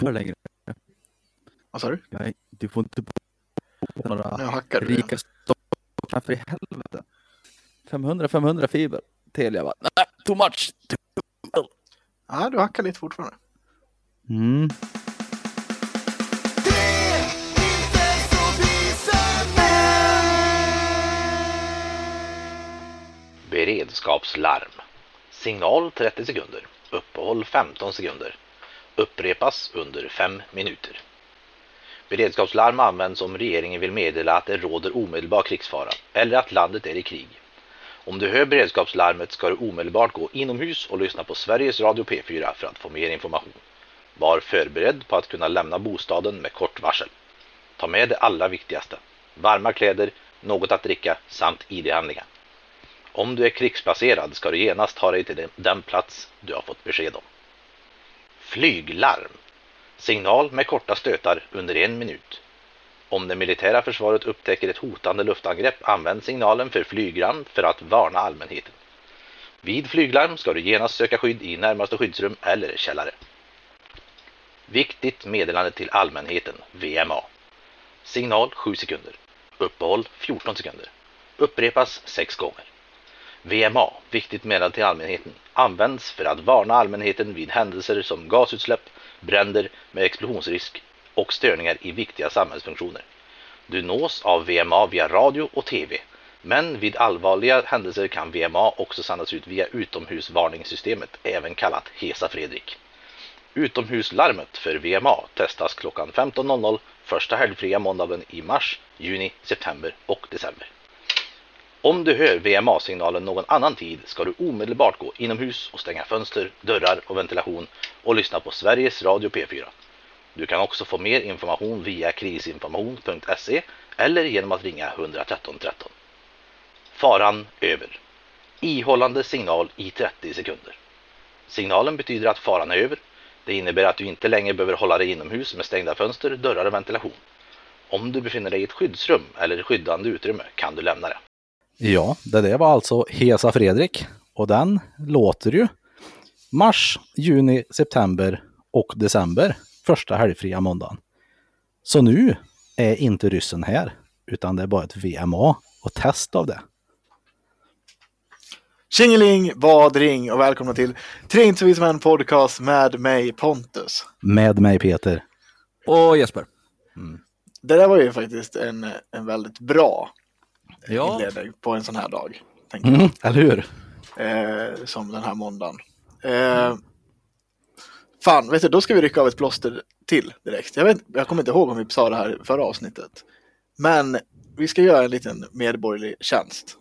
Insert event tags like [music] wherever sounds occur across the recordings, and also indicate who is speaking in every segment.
Speaker 1: bo längre.
Speaker 2: Vad sa du?
Speaker 1: Nej, du får inte bo på några
Speaker 2: Nu hackar du. igen.
Speaker 1: rika stockar för i helvete. 500, 500 fiber. Telia bara, nej, too much.
Speaker 2: Ja, du hackar lite fortfarande.
Speaker 1: Mm.
Speaker 3: Beredskapslarm. Signal 30 sekunder. Uppehåll 15 sekunder. Upprepas under 5 minuter. Beredskapslarm används om regeringen vill meddela att det råder omedelbar krigsfara eller att landet är i krig. Om du hör beredskapslarmet ska du omedelbart gå inomhus och lyssna på Sveriges Radio P4 för att få mer information. Var förberedd på att kunna lämna bostaden med kort varsel. Ta med det allra viktigaste. Varma kläder, något att dricka samt ID-handlingar. Om du är krigsplacerad ska du genast ta dig till den- den plats du har fått besked om. Flyglarm. Signal med korta stötar under en minut. Om det militära försvaret upptäcker ett hotande luftangrepp används signalen för flyglarm för att varna allmänheten. Vid flyglarm ska du genast söka skydd i närmaste skyddsrum eller källare. Viktigt meddelande till allmänheten, VMA. Signal 7 sekunder. Uppehåll 14 sekunder. Upprepas 6 gånger. VMA, viktigt meddelande till allmänheten, används för att varna allmänheten vid händelser som gasutsläpp, bränder med explosionsrisk och störningar i viktiga samhällsfunktioner. Du nås av VMA via radio och TV, men vid allvarliga händelser kan VMA också sändas ut via utomhusvarningssystemet, även kallat HESA Fredrik. Utomhuslarmet för VMA testas klockan 15.00 första helgfria måndagen i mars, juni, september och december. Om du hör VMA-signalen någon annan tid ska du omedelbart gå inomhus och stänga fönster, dörrar och ventilation och lyssna på Sveriges Radio P4. Du kan också få mer information via krisinformation.se E eller genom att ringa 113 13. Faran över. Ihållande signal i 30 sekunder. Signalen betyder att faran är över. Det innebär att du inte längre behöver hålla dig inomhus med stängda fönster, dörrar och ventilation. Om du befinner dig i ett skyddsrum eller skyddande utrymme kan du lämna det.
Speaker 4: Ja, det där var alltså Hesa Fredrik och den låter ju mars, juni, september och december första helgfria måndagen. Så nu är inte ryssen här utan det är bara ett VMA och test av det.
Speaker 2: Tjingeling, vad ring och välkomna till Tre inte så visa män podcast med mig Pontus.
Speaker 4: Med mig Peter.
Speaker 5: Och Jesper.
Speaker 2: Det där var ju faktiskt en, en väldigt bra
Speaker 5: Ja.
Speaker 2: inledning på en sån här dag. Tänker jag.
Speaker 4: Mm, eller hur?
Speaker 2: eh, som den här måndagen. Eh, fan, vet du, då ska vi rycka av ett plåster till direkt. Jag, vet, jag kommer inte ihåg om vi sa det här i förra avsnittet. Men vi ska göra en liten medborgerlig tjänst,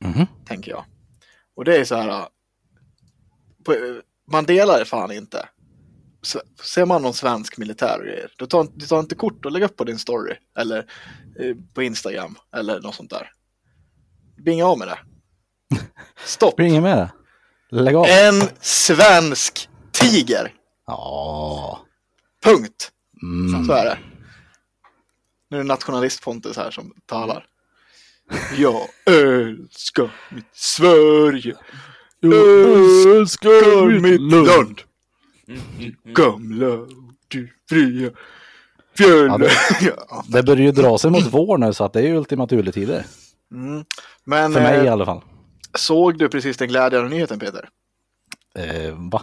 Speaker 4: Mhm.
Speaker 2: tänker jag. Och det är så här, eh, på, eh, man delar fan inte. Så, ser man någon svensk militär och grejer, då tar, du tar inte kort och lägger upp på din story eller eh, på Instagram eller något sånt där. Binga av med det. Stopp!
Speaker 4: Blir ingen med det? Lägg av.
Speaker 2: En svensk tiger.
Speaker 4: Ja.
Speaker 2: Punkt.
Speaker 4: Mm.
Speaker 2: Så är det. Nu är det nationalist Pontus här som talar. Jag älskar mitt Sverige. Jag älskar mitt land.
Speaker 4: Mm,
Speaker 2: Gamla du fria
Speaker 4: Ja,
Speaker 2: fjällen.
Speaker 4: det-
Speaker 2: [laughs] Ja.
Speaker 4: Det börjar ju dra sig mot vår nu så att det är ju ultimata juletider.
Speaker 2: Mm. Men
Speaker 4: För mig i
Speaker 2: eh,
Speaker 4: alla fall.
Speaker 2: såg du precis den glädjande nyheten Peter?
Speaker 4: Eh, va?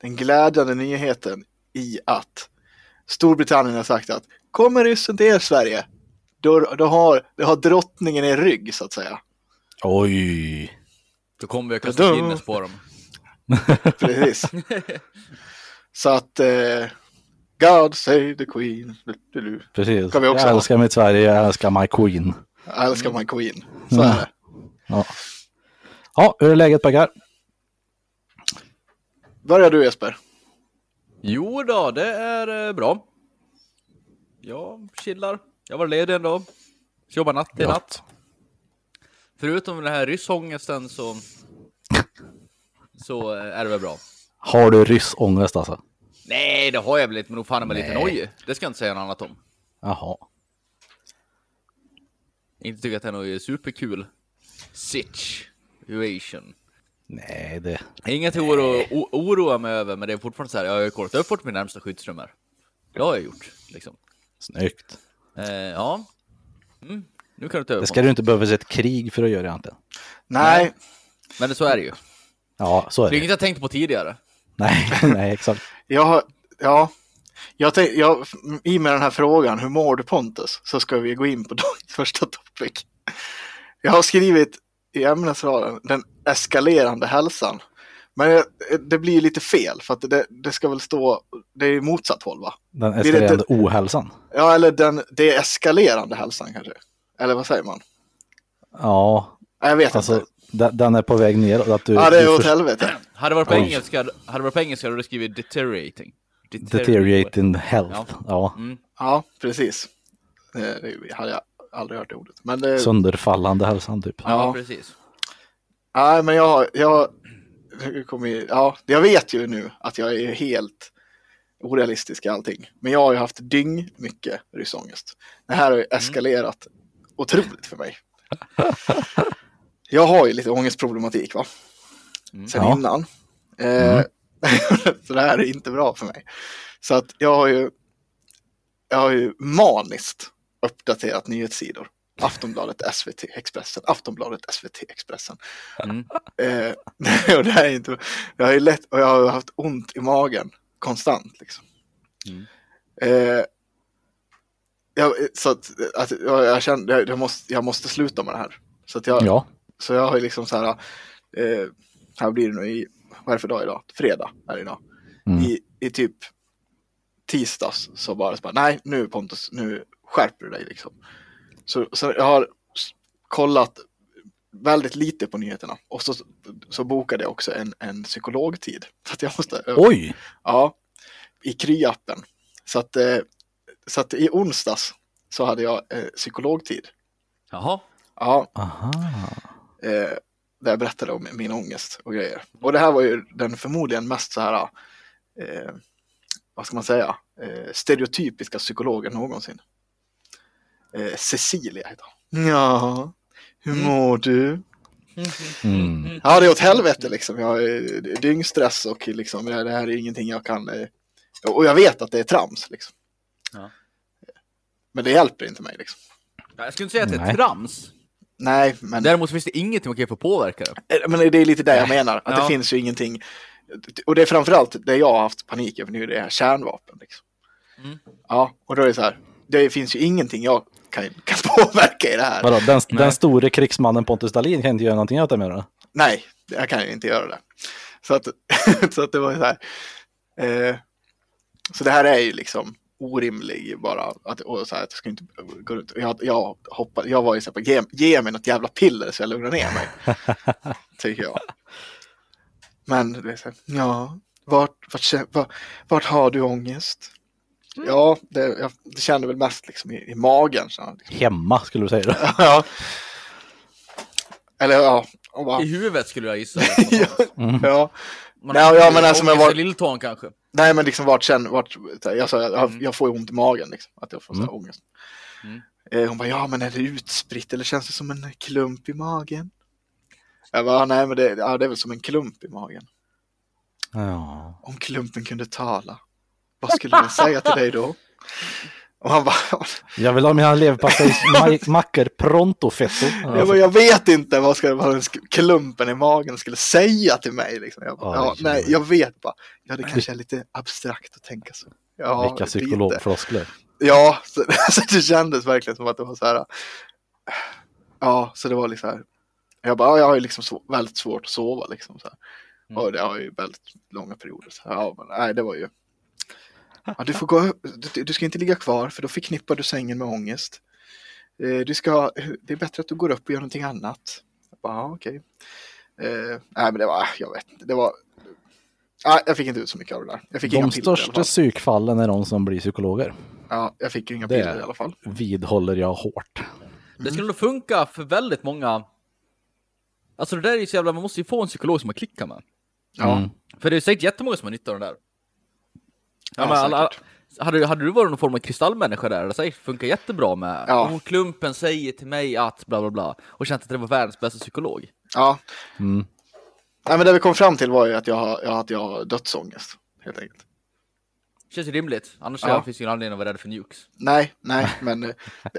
Speaker 2: den glädjande nyheten i att Storbritannien har sagt att kommer ryssen till er Sverige, då, då, har, då har drottningen i rygg så att säga.
Speaker 4: Oj.
Speaker 5: Då kommer vi att kasta Guinness på dem.
Speaker 2: Precis. så att eh, God save the Queen. Du, du, du.
Speaker 4: Precis.
Speaker 2: Kan vi också
Speaker 4: jag
Speaker 2: ha.
Speaker 4: älskar mitt Sverige, jag älskar my queen.
Speaker 2: Jag älskar my Queen. Så är det.
Speaker 4: Ja, hur är läget pojkar?
Speaker 2: Börjar du Jesper?
Speaker 5: Jo då, det är eh, bra. Jag chillar. Jag var ledig en dag. Så jobbar natt till natt. Förutom den här ryssångesten så... Så eh, är det väl bra.
Speaker 4: Har du ryssångest alltså?
Speaker 5: Nej, det har jag väl inte, men nog fan är man lite
Speaker 4: Nej.
Speaker 5: nojig. Det ska jag inte säga något annat om.
Speaker 4: Jaha.
Speaker 5: Inte tycker att den är superkul. Situation.
Speaker 4: Nej, det...
Speaker 5: Inget jag oro, o- oroa mig över, men det är fortfarande så här. Jag har ju kollat upp vart min närmsta skyddsrum är. Det har jag gjort. Liksom.
Speaker 4: Snyggt.
Speaker 5: Eh, ja. Mm. Nu kan du ta över.
Speaker 4: Det ska
Speaker 5: på.
Speaker 4: du inte behöva se ett krig för att göra egentligen.
Speaker 2: Nej,
Speaker 5: Men så är det ju.
Speaker 4: Ja, så
Speaker 5: Det är
Speaker 4: är det.
Speaker 5: inget jag tänkt på tidigare.
Speaker 4: Nej, [laughs] nej, exakt.
Speaker 2: jag har... Ja. Jag tänk, jag, I och med den här frågan, hur mår du Pontus? Så ska vi gå in på [laughs] dagens första topic. Jag har skrivit i ämnesraden den eskalerande hälsan. Men jag, det blir lite fel för att det, det ska väl stå, det är motsatt håll va?
Speaker 4: Den
Speaker 2: det
Speaker 4: eskalerande ohälsan.
Speaker 2: Ja, eller den, det är eskalerande hälsan kanske. Eller vad säger man?
Speaker 4: Ja,
Speaker 2: Nej, Jag vet
Speaker 4: alltså
Speaker 2: inte.
Speaker 4: de- den är på väg ner och att du,
Speaker 2: Ja, det är
Speaker 4: du
Speaker 2: åt
Speaker 4: förs-
Speaker 2: helvete.
Speaker 5: Hade det varit på
Speaker 4: Oj.
Speaker 5: engelska hade det varit på engelska hade du skrivit deteriorating.
Speaker 4: deteriorating health. Ja,
Speaker 5: Mm.
Speaker 2: Ja, precis. Det, det hade jag aldrig hört det ordet. Men det,
Speaker 4: sönderfallande hälsan typ.
Speaker 5: Ja,
Speaker 2: Ja.
Speaker 5: precis.
Speaker 2: Nej, men jag har... Jag, jag kommer, ju- ja, jag vet ju nu att jag är helt orealistisk i allting. Men jag har ju haft dyng mycket ryssångest. Det här har ju eskalerat otroligt för mig. Jag har ju lite ångestproblematik va?
Speaker 5: Mm.
Speaker 2: Sen
Speaker 4: Ja.
Speaker 2: innan. Eh, [laughs] så det här är inte bra för mig. Så att jag har ju, jag har ju maniskt uppdaterat nyhetssidor. Aftonbladet, SVT, Expressen, Aftonbladet, SVT, Expressen.
Speaker 5: Mm.
Speaker 2: Eh, [laughs] och det här är inte, jag har ju lätt, och jag har haft ont i magen konstant liksom.
Speaker 5: Mm.
Speaker 2: Eh, jag, så att, att jag, jag kände, jag, jag, måste, jag måste sluta med det här. Så att jag,
Speaker 4: Ja,
Speaker 2: så jag har ju liksom så här, eh, här blir det nu i, vad är det för dag idag? Fredag är det idag.
Speaker 4: Mm.
Speaker 2: I, I typ tisdags så bara, så bara, nej nu Pontus, nu skärper du dig liksom. Så, så jag har s- kollat väldigt lite på nyheterna och så, så bokade jag också en, en psykologtid. [laughs] Så att jag måste,
Speaker 4: oj,
Speaker 2: ja, i Kry-appen. Så att, eh, så att i onsdags så hade jag eh, psykologtid.
Speaker 5: Jaha.
Speaker 2: Ja,
Speaker 4: aha,
Speaker 2: eh, där jag berättade om min ångest och grejer. Och det här var ju den förmodligen mest så här, eh, vad ska man säga, eh, stereotypiska psykologen någonsin. Eh, Cecilia heter hon. Ja, hur mår du?
Speaker 4: Mm.
Speaker 2: Ja, det är åt helvete liksom. Jag är det är dyngstress och liksom, det här- det här är ingenting jag kan... eh, Och jag vet att det är trams liksom.
Speaker 5: Ja.
Speaker 2: Men det hjälper inte mig liksom.
Speaker 5: Jag skulle inte säga att det är
Speaker 4: Nej.
Speaker 5: trams.
Speaker 2: Nej, men...
Speaker 5: Däremot finns det ingenting man kan göra för att påverka det.
Speaker 2: Eh, Men det är lite det jag menar, att
Speaker 5: Ja.
Speaker 2: det finns ju ingenting. Och det är framförallt det jag har haft panik över nu, det är kärnvapen. Liksom.
Speaker 5: Mm.
Speaker 2: Ja, och då är det så här, det finns ju ingenting jag kan, kan [laughs] påverka i det här.
Speaker 4: vadå, den,
Speaker 5: Nej.
Speaker 4: den store krigsmannen Pontus Dahlin kan inte göra någonting åt det menar du?
Speaker 2: Nej, jag kan ju inte göra det. Så att, [laughs] så att det var ju så här. Eh, så det här är ju liksom orimlig bara. Att, och så här, att jag ska inte gå runt. Jag, jag, hoppade, jag var ju så här, på, ge, ge mig något jävla piller så jag lugnar ner mig. tycker jag. Men det är så här, ja, vart, vart, kä- va- vart har du ångest? Ja, det, jag, det kände väl mest liksom i, i magen. Så,
Speaker 4: [laughs]
Speaker 2: här, liksom.
Speaker 4: Hemma skulle du säga då?
Speaker 2: ja. Eller ja, och bara,
Speaker 5: I huvudet skulle jag gissa.
Speaker 2: [laughs] Ja.
Speaker 4: Mm.
Speaker 2: ja.
Speaker 5: Man
Speaker 2: Nej, ja, men alltså, men
Speaker 5: ångest i
Speaker 2: var-
Speaker 5: Lilltån kanske.
Speaker 2: Nej, men liksom vart sen, vart, så här, jag, sa, jag,
Speaker 5: Mm.
Speaker 2: jag får ju ont i magen, liksom, att jag får så här
Speaker 4: Mm.
Speaker 2: ångest.
Speaker 5: Mm.
Speaker 2: Eh, hon bara, ja men är det utspritt eller känns det som en klump i magen? Jag bara, nej men det, ja, det är väl som en klump i magen.
Speaker 4: Ja.
Speaker 2: Om klumpen kunde tala, vad skulle den säga till dig då? Och han bara, [laughs]
Speaker 4: Jag vill ha mina leverpastejmackor pronto fetto.
Speaker 2: jag, bara, jag vet inte vad, ska, vad den sk- klumpen i magen skulle säga till mig. Liksom. Jag bara,
Speaker 4: Oj,
Speaker 2: ja, nej,
Speaker 4: oj.
Speaker 2: jag vet bara. Ja, det kanske är lite abstrakt att tänka så. Ja,
Speaker 4: Alltså, Vilka
Speaker 2: lite.
Speaker 4: psykologfloskler.
Speaker 2: Ja, [laughs] så, så det kändes verkligen som att det var så här. äh, Ja, så det var liksom här. Jag bara, ja, jag har ju liksom så, väldigt svårt att sova liksom så här.
Speaker 4: Mm.
Speaker 2: Och det har ju väldigt långa perioder. Så här. Ja, men nej, det var ju. Ja,
Speaker 4: [laughs]
Speaker 2: du får gå, upp- du, du ska inte ligga kvar för då förknippar du sängen med ångest. Eh, Du ska, det är bättre att du går upp och gör någonting annat. Jag bara, ja, okej. Eh, nej, men det var, jag vet inte, det var. Nej, jag fick inte ut så mycket av det där. Jag fick inga
Speaker 4: De
Speaker 2: piller i alla
Speaker 4: största
Speaker 2: fall.
Speaker 4: psykfallen är de som blir psykologer.
Speaker 2: Ja, jag fick inga
Speaker 4: Det-
Speaker 2: piller i alla fall.
Speaker 4: Vidhåller jag hårt.
Speaker 5: Det skulle nog funka för väldigt många. Alltså det där är ju så jävla, man måste ju få en psykolog som man klickar med.
Speaker 2: Ja.
Speaker 4: Mm.
Speaker 5: För det är säkert jättemånga som har nytta av den där. Ja,
Speaker 2: Ja,
Speaker 5: men alla,
Speaker 2: säkert.
Speaker 5: hade, hade du varit någon form av kristallmänniska där, det säkert funkar jättebra med
Speaker 2: Ja.
Speaker 5: "Åh, klumpen säger till mig att bla bla bla och känt att det var världens bästa psykolog.
Speaker 2: Ja,
Speaker 4: Mm.
Speaker 2: Nej, men det vi kom fram till var ju att jag har, jag, att jag har dödsångest. Helt enkelt.
Speaker 5: Känns ju rimligt. Annars
Speaker 2: Ja.
Speaker 5: finns det ingen anledning att vara rädd för
Speaker 2: [laughs]
Speaker 5: nukes.
Speaker 2: Nej, nej, men eh,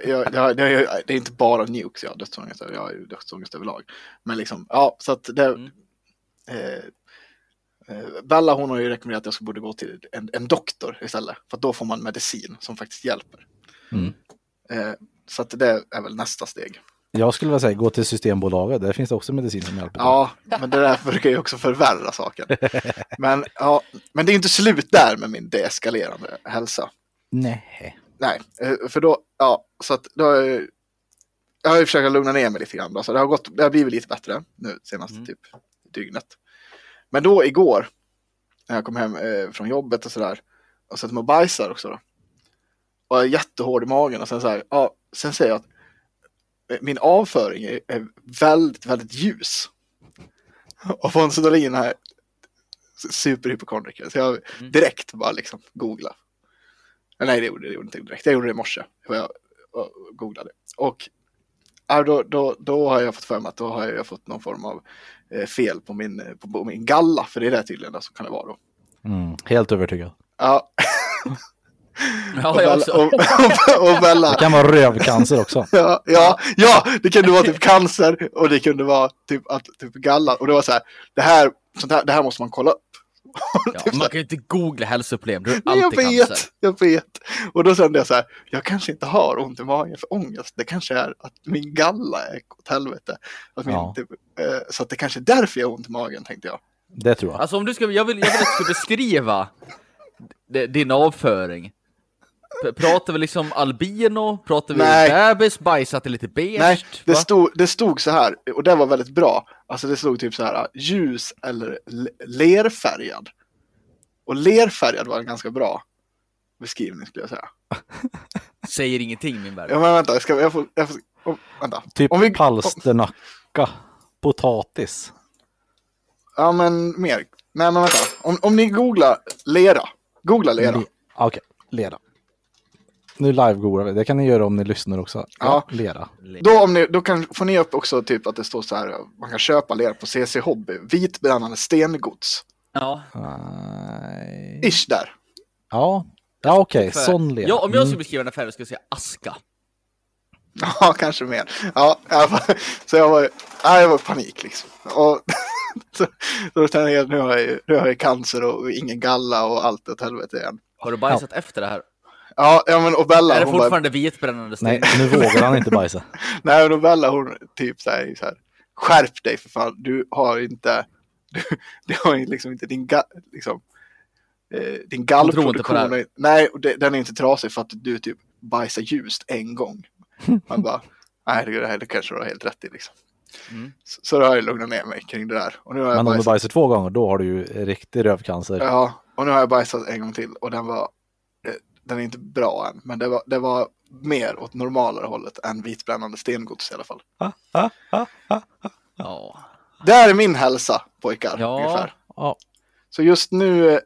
Speaker 2: jag, jag, jag, det är inte bara nukes jag har dödsångest över. Jag har ju dödsångest överlag. Men liksom, ja, så att det...
Speaker 5: Mm.
Speaker 2: Eh, eh, Bella hon har ju rekommenderat att jag ska borde gå till en, en doktor istället. För att då får man medicin som faktiskt hjälper.
Speaker 4: Mm.
Speaker 2: Eh, så att det är väl nästa steg.
Speaker 4: Jag skulle vilja säga gå till Systembolaget, där finns det också medicin som hjälper.
Speaker 2: Ja, men det där brukar ju också förvärra saken. Men, ja, men det är ju inte slut där med min deeskalerande hälsa.
Speaker 4: Nej.
Speaker 2: Nej, eh, för då, ja, så att då har jag ju- jag har ju försökt lugna ner mig lite grann då, så det har, gått, det har blivit lite bättre nu senaste
Speaker 5: Mm.
Speaker 2: typ dygnet. Men då igår, när jag kom hem eh, från jobbet och sådär, och satte mig och bajsade också då. Och jag är jättehård i magen och sen så här, ja, sen säger jag att eh, min avföring är, är väldigt, väldigt ljus. [laughs] Och von Sudolin här, superhypokondriker, så jag
Speaker 5: Mm.
Speaker 2: direkt bara liksom googla. Men Eh, nej, det gjorde det gjorde inte direkt. Jag gjorde det i morse. Jag var- och googlade. Och ja, då, då, då har jag fått för mig att då har jag fått någon form av eh, fel på min, eh, på, på min galla. För det är det tydligen det som kan det vara då.
Speaker 4: Mm. Helt övertygad.
Speaker 2: Ja, och,
Speaker 5: Ja, jag
Speaker 2: Bella,
Speaker 5: också.
Speaker 2: och, [laughs] och, och Bella.
Speaker 4: Det kan vara rövcancer också.
Speaker 2: Ja, ja, ja, det kunde vara typ cancer och det kunde vara typ, att, typ gallan. Och det var så här, det här, sånt här, det här måste man kolla upp.
Speaker 5: Ja, man kan ju inte googla hälsoproblem, då är
Speaker 2: Typ Nej, jag
Speaker 5: alltid
Speaker 2: vet,
Speaker 5: cancer.
Speaker 2: jag vet. Och då kände jag så här, jag kanske inte har ont i magen för ångest. Det kanske är att min galla är åt helvete. Att min,
Speaker 4: Ja.
Speaker 2: typ, eh, så att det kanske är därför jag har ont i magen, tänkte jag.
Speaker 4: Det tror jag.
Speaker 5: Alltså om du ska, jag vill, jag vill att du ska beskriva d- din avföring. P- Pratar vi liksom albino? Pratar vi
Speaker 2: Nej.
Speaker 5: bebis? Bajsat är lite beige?
Speaker 2: Nej, det
Speaker 5: va?
Speaker 2: stod, det stod så här, och det var väldigt bra. Alltså det stod typ så här, ljus eller le- lerfärgad. Och lerfärgad var en ganska bra beskrivning, skulle jag säga.
Speaker 5: Säger ingenting min värld.
Speaker 2: Ja, men vänta, ska, jag får, jag får, oh, vänta.
Speaker 4: Typ
Speaker 2: om vi-
Speaker 4: palsternacka, potatis.
Speaker 2: Ja, men mer. Nej, men vänta. Om, om ni googlar lera, googla lera.
Speaker 4: Le- Okej, lera. Nu live-googlar vi. Det kan ni göra om ni lyssnar också.
Speaker 2: Ja.
Speaker 4: Lera.
Speaker 2: Då, om ni, då kan, får ni upp också typ att det står så här, man kan köpa lera på CC Hobby, vitbrännande stengods.
Speaker 5: Ja.
Speaker 4: Nej.
Speaker 2: Ish där. [laughs]
Speaker 4: Ja, ja okej.
Speaker 5: För-
Speaker 4: Sån lera.
Speaker 5: Ja, om jag
Speaker 4: Mm.
Speaker 5: skulle beskriva den färgen skulle jag säga aska.
Speaker 2: Ja, kanske mer. Ja, i alla fall. Så jag var, ja, jag var i panik liksom. Och, [laughs] så, så tänkte jag, nu har jag, ju- nu har jag cancer och ingen galla och allt åt helvete igen.
Speaker 5: Har du bajsat efter det här?
Speaker 2: Ja, ja men och Bella,
Speaker 5: är det
Speaker 2: hon bara,
Speaker 5: fortfarande vitbrännande sten?
Speaker 4: Nej, nu vågar
Speaker 5: [laughs]
Speaker 4: han inte bajsa.
Speaker 2: nej, men och Bella, hon typ så här, så här, skärp dig för fan, du har inte, [laughs] du, du har ju liksom inte din, ga, liksom, eh, din
Speaker 5: inte på
Speaker 2: gallproduktion.
Speaker 5: det här.
Speaker 2: är- Nej, och det, den är inte trasig för att du typ bajsar ljust en gång.
Speaker 5: [laughs]
Speaker 2: Man bara, nej, det, här, det kanske du har helt rätt i liksom.
Speaker 5: Mm.
Speaker 2: Så, så då har jag lugnat ner mig kring det där. Och nu har jag
Speaker 4: Men om du
Speaker 2: bajsat,
Speaker 4: bajsar två gånger, då har du ju riktig rövcancer.
Speaker 2: ja, och nu har jag bajsat en gång till och den var, eh, den är inte bra än, men det var, det var mer åt normalare hållet än vitbrännande stengods i alla fall.
Speaker 5: Ja.
Speaker 2: Där är min hälsa pojkar.
Speaker 5: Ja.
Speaker 2: Ungefär.
Speaker 4: Ja.
Speaker 2: Så just nu eh,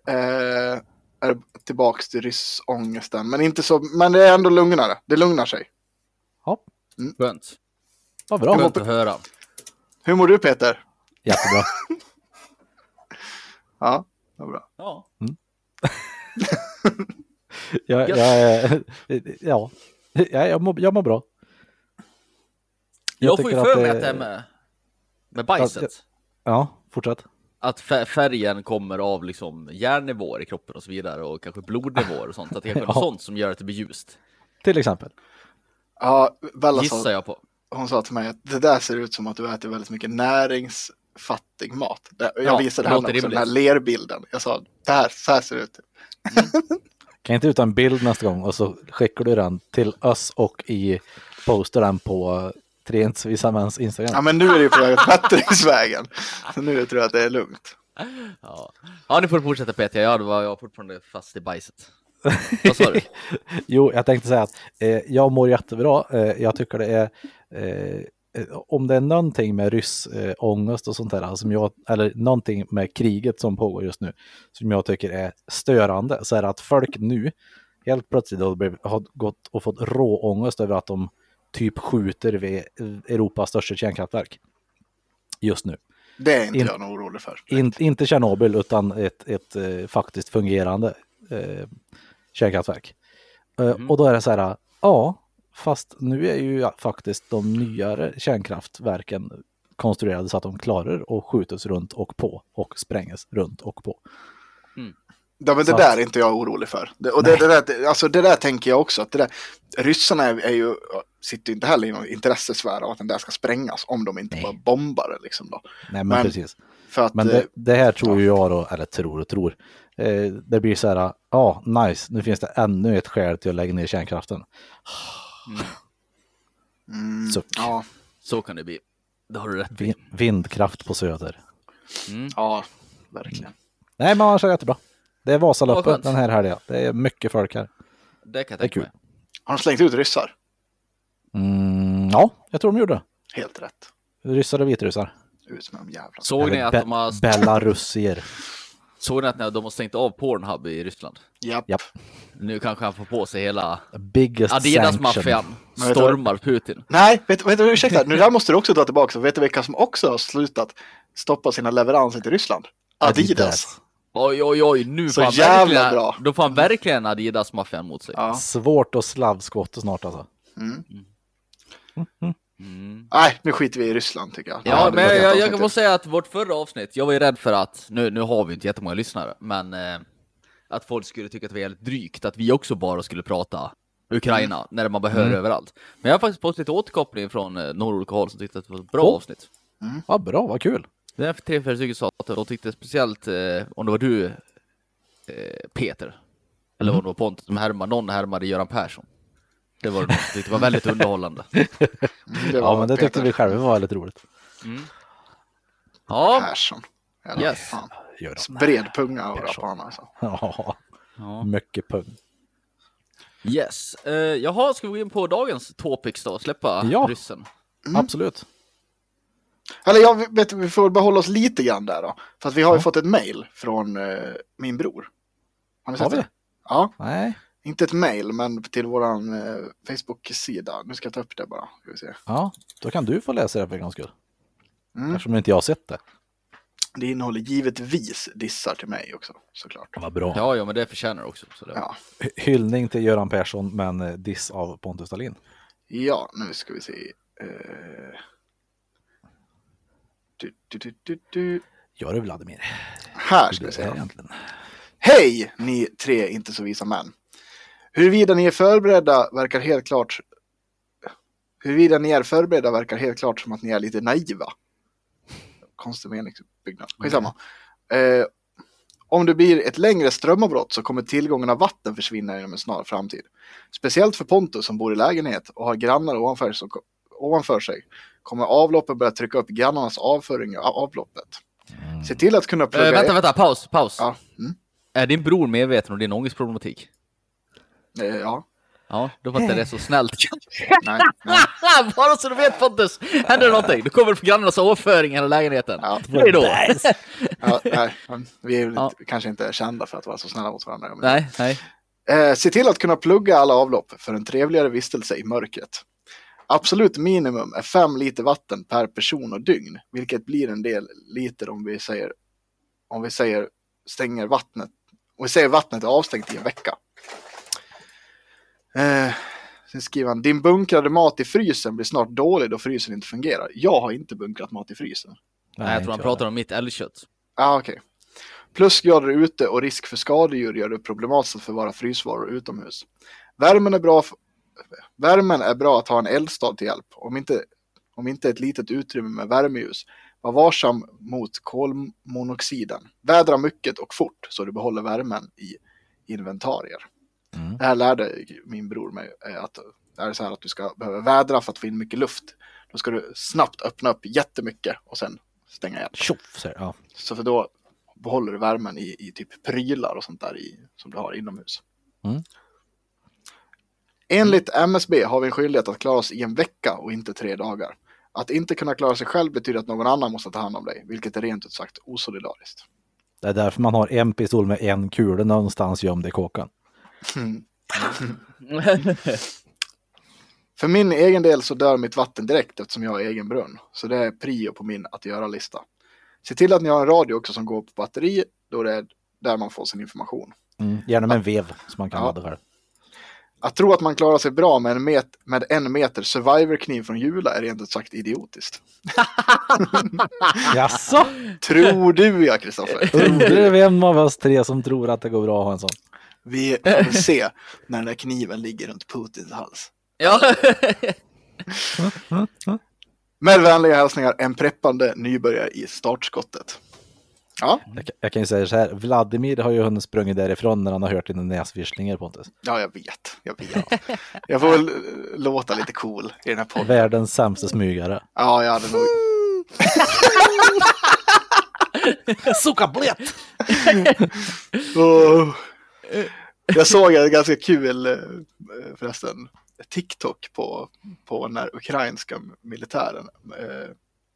Speaker 2: är det tillbaks till ryssångesten. Men, inte så, men det är ändå lugnare. Det lugnar sig.
Speaker 5: Skönt.
Speaker 4: Vad bra.
Speaker 5: Skönt att höra.
Speaker 2: Hur mår du Peter? [laughs]
Speaker 4: Jättebra.
Speaker 2: Ja, vad bra.
Speaker 5: Ja.
Speaker 4: Jag,
Speaker 5: Ja.
Speaker 4: jag, är- ja. Jag, jag, mår, jag mår bra.
Speaker 5: Jag, får ju
Speaker 4: tycker
Speaker 5: för
Speaker 4: att
Speaker 5: mig
Speaker 4: det-
Speaker 5: att det är med, med bajset.
Speaker 4: Ja, fortsätt.
Speaker 5: att fär- färgen kommer av liksom järnnivåer i kroppen och så vidare och kanske blodnivåer och sånt. Att det kanske är något
Speaker 4: [laughs] Ja.
Speaker 5: sånt som gör att det blir ljust.
Speaker 4: Till exempel.
Speaker 2: Ja, Bella
Speaker 5: Gissar
Speaker 2: sa,
Speaker 5: jag på.
Speaker 2: hon sa till mig att det där ser ut som att du äter väldigt mycket näringsfattig mat. Det- Jag
Speaker 5: Ja,
Speaker 2: visade
Speaker 5: det
Speaker 2: henne
Speaker 5: låter
Speaker 2: också den
Speaker 5: rimligt.
Speaker 2: här lerbilden. Jag sa, det här, så här ser det ut.
Speaker 4: Kan jag inte ut en bild nästa gång och så skickar du den till oss och i postar den på Trens Visa Mäns
Speaker 2: Ja,
Speaker 4: Instagram.
Speaker 2: men nu är det ju på väg [laughs] åt bättringsvägen. Så nu tror jag att det är lugnt.
Speaker 5: Ja. ja, nu får du fortsätta Peter. Ja, det var jag var fortfarande fast i
Speaker 4: [laughs]
Speaker 5: bajset. Vad sa du?
Speaker 4: Jo, jag tänkte säga att eh, jag mår jättebra. Eh, jag tycker det är, eh, eh, om det är någonting med ryssångest eh, ångest och sånt där, alltså, som jag, eller någonting med kriget som pågår just nu, som jag tycker är störande, så är det att folk nu helt plötsligt har, blivit, har gått och fått råångest över att de typ skjuter vid Europas största kärnkraftverk just nu.
Speaker 2: Det är inte
Speaker 4: In-
Speaker 2: jag nog orolig för.
Speaker 4: In, inte Tjernobyl utan ett, ett eh, faktiskt fungerande eh, kärnkraftverk. Eh, Och då är det så här, ja, fast nu är ju faktiskt de nyare kärnkraftverken konstruerade så att de klarar att skjutas runt och på och sprängas runt och på.
Speaker 2: Ja, men det
Speaker 4: Så
Speaker 2: där
Speaker 4: att-
Speaker 2: är inte jag orolig för. Det, och det, det, där, det, alltså, det där tänker jag också. Att det där, ryssarna är, är ju, sitter ju inte heller i någon intressesfär av att den där ska sprängas om de inte
Speaker 4: Nej.
Speaker 2: bara bombar det. Liksom, då.
Speaker 4: Nej, men,
Speaker 2: Men-
Speaker 4: precis.
Speaker 2: För att,
Speaker 4: Men
Speaker 2: eh,
Speaker 4: det, det här tror ju jag då, eller tror och tror, eh, det blir så här, ja, nice, nu finns det ännu ett skäl till att lägga ner kärnkraften.
Speaker 2: mm,
Speaker 4: suck.
Speaker 2: ja,
Speaker 5: Så kan det bli. Det har du rätt i.
Speaker 4: Vin- Vindkraft på Söder.
Speaker 2: ja, verkligen.
Speaker 4: Nej, men annars är det jättebra. Det är
Speaker 5: Vad
Speaker 4: Vasaloppet
Speaker 5: skönt.
Speaker 4: den här helgen. Det är mycket folk här.
Speaker 5: Det kan jag
Speaker 4: Det är
Speaker 5: tänka
Speaker 4: kul.
Speaker 5: mig.
Speaker 2: Har de slängt ut ryssar?
Speaker 4: Mm, ja, jag tror de gjorde.
Speaker 2: Helt rätt.
Speaker 4: Ryssar och vitryssar.
Speaker 2: Ut med dem jävla.
Speaker 5: Såg ni
Speaker 4: Eller
Speaker 5: att
Speaker 4: Be-
Speaker 5: de har,
Speaker 4: Belarusier.
Speaker 5: såg ni att de har stängt av Pornhub i Ryssland?
Speaker 2: Japp.
Speaker 4: Japp.
Speaker 5: Nu kanske han får på sig hela
Speaker 4: Biggest sanction.
Speaker 5: Adidas-maffian.
Speaker 2: Men vet du-
Speaker 5: Stormar Putin.
Speaker 2: Nej, vet, vet, du- ursäkta, nu där måste du också dra tillbaka. Vet du vilka som också har slutat stoppa sina leveranser till Ryssland? Adidas.
Speaker 5: Oj, oj, oj, nu
Speaker 2: Så
Speaker 5: får han
Speaker 2: jävla
Speaker 5: verkligen,
Speaker 2: bra.
Speaker 5: Då får han verkligen Adidas-maffian mot sig.
Speaker 2: Ja.
Speaker 4: Svårt att slavskotta snart alltså.
Speaker 2: Mm.
Speaker 5: Mm.
Speaker 2: Nej, nu skiter vi i Ryssland tycker jag.
Speaker 5: Ja,
Speaker 2: det
Speaker 5: men
Speaker 2: var
Speaker 5: jag,
Speaker 2: ett
Speaker 5: jag,
Speaker 2: avsnitt
Speaker 5: jag
Speaker 2: till.
Speaker 5: måste säga att vårt förra avsnitt, jag var ju rädd för att, nu, nu har vi inte jättemånga lyssnare, men eh, att folk skulle tycka att vi är helt drygt, att vi också bara skulle prata Ukraina,
Speaker 2: Mm.
Speaker 5: när man behöver överallt. Men jag har faktiskt fått lite återkoppling från eh, några olika håll som tyckte att det var ett bra
Speaker 4: Oh.
Speaker 5: avsnitt.
Speaker 4: Ja, bra,
Speaker 5: [laughs]
Speaker 4: vad kul.
Speaker 5: Det är tre, fyra stycken sa att de tyckte speciellt, eh, om det var du, eh, Peter, eller
Speaker 2: Mm.
Speaker 5: om det var Pontus, som härmade, någon härmade Göran Persson. Det var det någon som tyckte var väldigt underhållande.
Speaker 2: Mm, Det var
Speaker 4: Ja, men det tyckte
Speaker 2: Peter
Speaker 4: vi själva var väldigt roligt.
Speaker 5: Ja,
Speaker 2: Persson. Jävlar,
Speaker 5: Yes.
Speaker 2: fan.
Speaker 4: Gör de.
Speaker 2: Bred punga och
Speaker 4: Persson.
Speaker 2: på honom alltså.
Speaker 4: [laughs] Ja, mycket pung.
Speaker 5: yes. Eh, jaha, ska vi gå in på dagens topics då? Släppa
Speaker 4: Ja.
Speaker 5: ryssen? Mm.
Speaker 4: Absolut.
Speaker 2: Eller jag vet, vi får väl behålla oss lite grann där då. För att vi har ju fått ett mail från eh, min bror. Har ni sett
Speaker 4: Har vi?
Speaker 2: det? Ja,
Speaker 4: Nej,
Speaker 2: inte ett mail men till våran eh, Facebook-sida. Nu ska jag ta upp det bara. Ska vi se.
Speaker 4: ja, då kan du få läsa det för en gångs skull.
Speaker 2: Mm.
Speaker 4: Eftersom inte jag har sett det.
Speaker 2: Det innehåller givetvis dissar till mig också såklart.
Speaker 4: Vad bra.
Speaker 5: Ja, ja, men det förtjänar det också. Så det...
Speaker 2: Ja.
Speaker 4: Hyllning till Göran Persson, men eh, diss av Pontus Dahlin.
Speaker 2: Ja, nu ska vi se. Eh, Du, du, du, du, du.
Speaker 4: Gör det Vladimir.
Speaker 2: Här ska vi
Speaker 4: Det är
Speaker 2: se.
Speaker 4: egentligen.
Speaker 2: Hej ni tre inte så visa män. Huruvida ni är förberedda verkar helt klart Huruvida ni är förberedda verkar helt klart som att ni är lite naiva. Konstig meningsbyggnad. Skitsamma. Eh, om det blir ett längre strömavbrott så kommer tillgången av vatten försvinna inom en snar framtid. Speciellt för Pontus som bor i lägenhet och har grannar ovanför, som, ko- ovanför sig kommer avloppen börja trycka upp grannarnas avföring i av avloppet. Se till att kunna plugga
Speaker 5: Mm. Eh, vänta,
Speaker 2: in-
Speaker 5: vänta, paus, paus.
Speaker 2: Ja. Mm.
Speaker 5: Är din bror medveten om din ångestproblematik?
Speaker 2: Eh, ja.
Speaker 5: Ja, då var inte det så
Speaker 2: [laughs]
Speaker 5: snällt. [laughs]
Speaker 2: Nej, nej.
Speaker 5: Bara så du vet Pontus, händer det någonting, då kommer det på grannarnas avföring i hela lägenheten. [laughs]
Speaker 2: Ja.
Speaker 5: Hej då!
Speaker 4: [laughs]
Speaker 2: Ja, nej. men Vi är väl
Speaker 5: Ja.
Speaker 2: inte, kanske inte kända för att vara så snälla mot varandra. Men-
Speaker 5: nej, nej.
Speaker 2: Eh, se till att kunna plugga alla avlopp för en trevligare vistelse i mörkret. Absolut minimum är 5 liter vatten per person och dygn, vilket blir en del liter om vi säger, om vi säger stänger vattnet, om vi säger vattnet är avstängt i en vecka. Eh, sen skriver han, din bunkrade mat i frysen blir snart dålig då frysen inte fungerar. Jag har inte bunkrat mat i frysen.
Speaker 5: Nej, jag tror han
Speaker 4: inte
Speaker 5: pratar om mitt älgkött.
Speaker 4: [laughs]
Speaker 2: Ja, ah, okej. Plusgrader ute och risk för skadedjur gör det problematiskt att förvara frysvaror utomhus. Värmen är bra, f- värmen är bra att ha en eldstad till hjälp, om inte, om inte ett litet utrymme med värmeljus. Var varsam mot kolmonoxiden. Vädra mycket och fort så du behåller värmen i inventarier.
Speaker 4: Mm.
Speaker 2: Det här lärde min bror mig eh, att det är så här att du ska behöva vädra för att få in mycket luft. Då ska du snabbt öppna upp jättemycket och sen stänga igen.
Speaker 4: Tjoff, säger jag.
Speaker 2: Så för då behåller du värmen i, i typ prylar och sånt där i, som du har inomhus.
Speaker 4: Mm.
Speaker 2: Enligt MSB har vi en skyldighet att klara oss i en vecka och inte tre dagar. Att inte kunna klara sig själv betyder att någon annan måste ta hand om dig, vilket är rent ut sagt osolidariskt.
Speaker 4: Det är därför man har en pistol med en kula någonstans gömd i kåkan.
Speaker 2: För min egen del så dör mitt vatten direkt eftersom jag har egen brunn. Så det är prio på min att göra-lista. Se till att ni har en radio också som går på batteri då det är där man får sin information.
Speaker 4: Mm. Gärna med en vev som man kan
Speaker 2: Ja.
Speaker 4: ladda själv.
Speaker 2: Att tro att man klarar sig bra med en, met- med en meter survivor-kniv från Jula är rent ut sagt idiotiskt.
Speaker 4: Jaså?
Speaker 2: Tror du ja, Kristoffer?
Speaker 4: Undrar vem av oss tre som tror att det går bra att ha en sån.
Speaker 2: Vi får väl se när den där kniven ligger runt Putins hals.
Speaker 5: Ja.
Speaker 2: Med vänliga hälsningar, en preppande nybörjare i startskottet. Ja,
Speaker 4: Jag, kan- jag kan ju säga så här, Vladimir har ju hunnit sprungit därifrån när han har hört dina näsvisslingar Pontus.
Speaker 2: ja jag vet. Jag vet. Jag får väl eh, låta lite cool i den här podden.
Speaker 4: Världens sämsta smygare.
Speaker 2: Ja, jag hade nog...
Speaker 4: Suka blöt!
Speaker 2: Åh. Oh. Jag såg en ganska kul, eh, förresten, TikTok på, på den här ukrainska militären. Eh,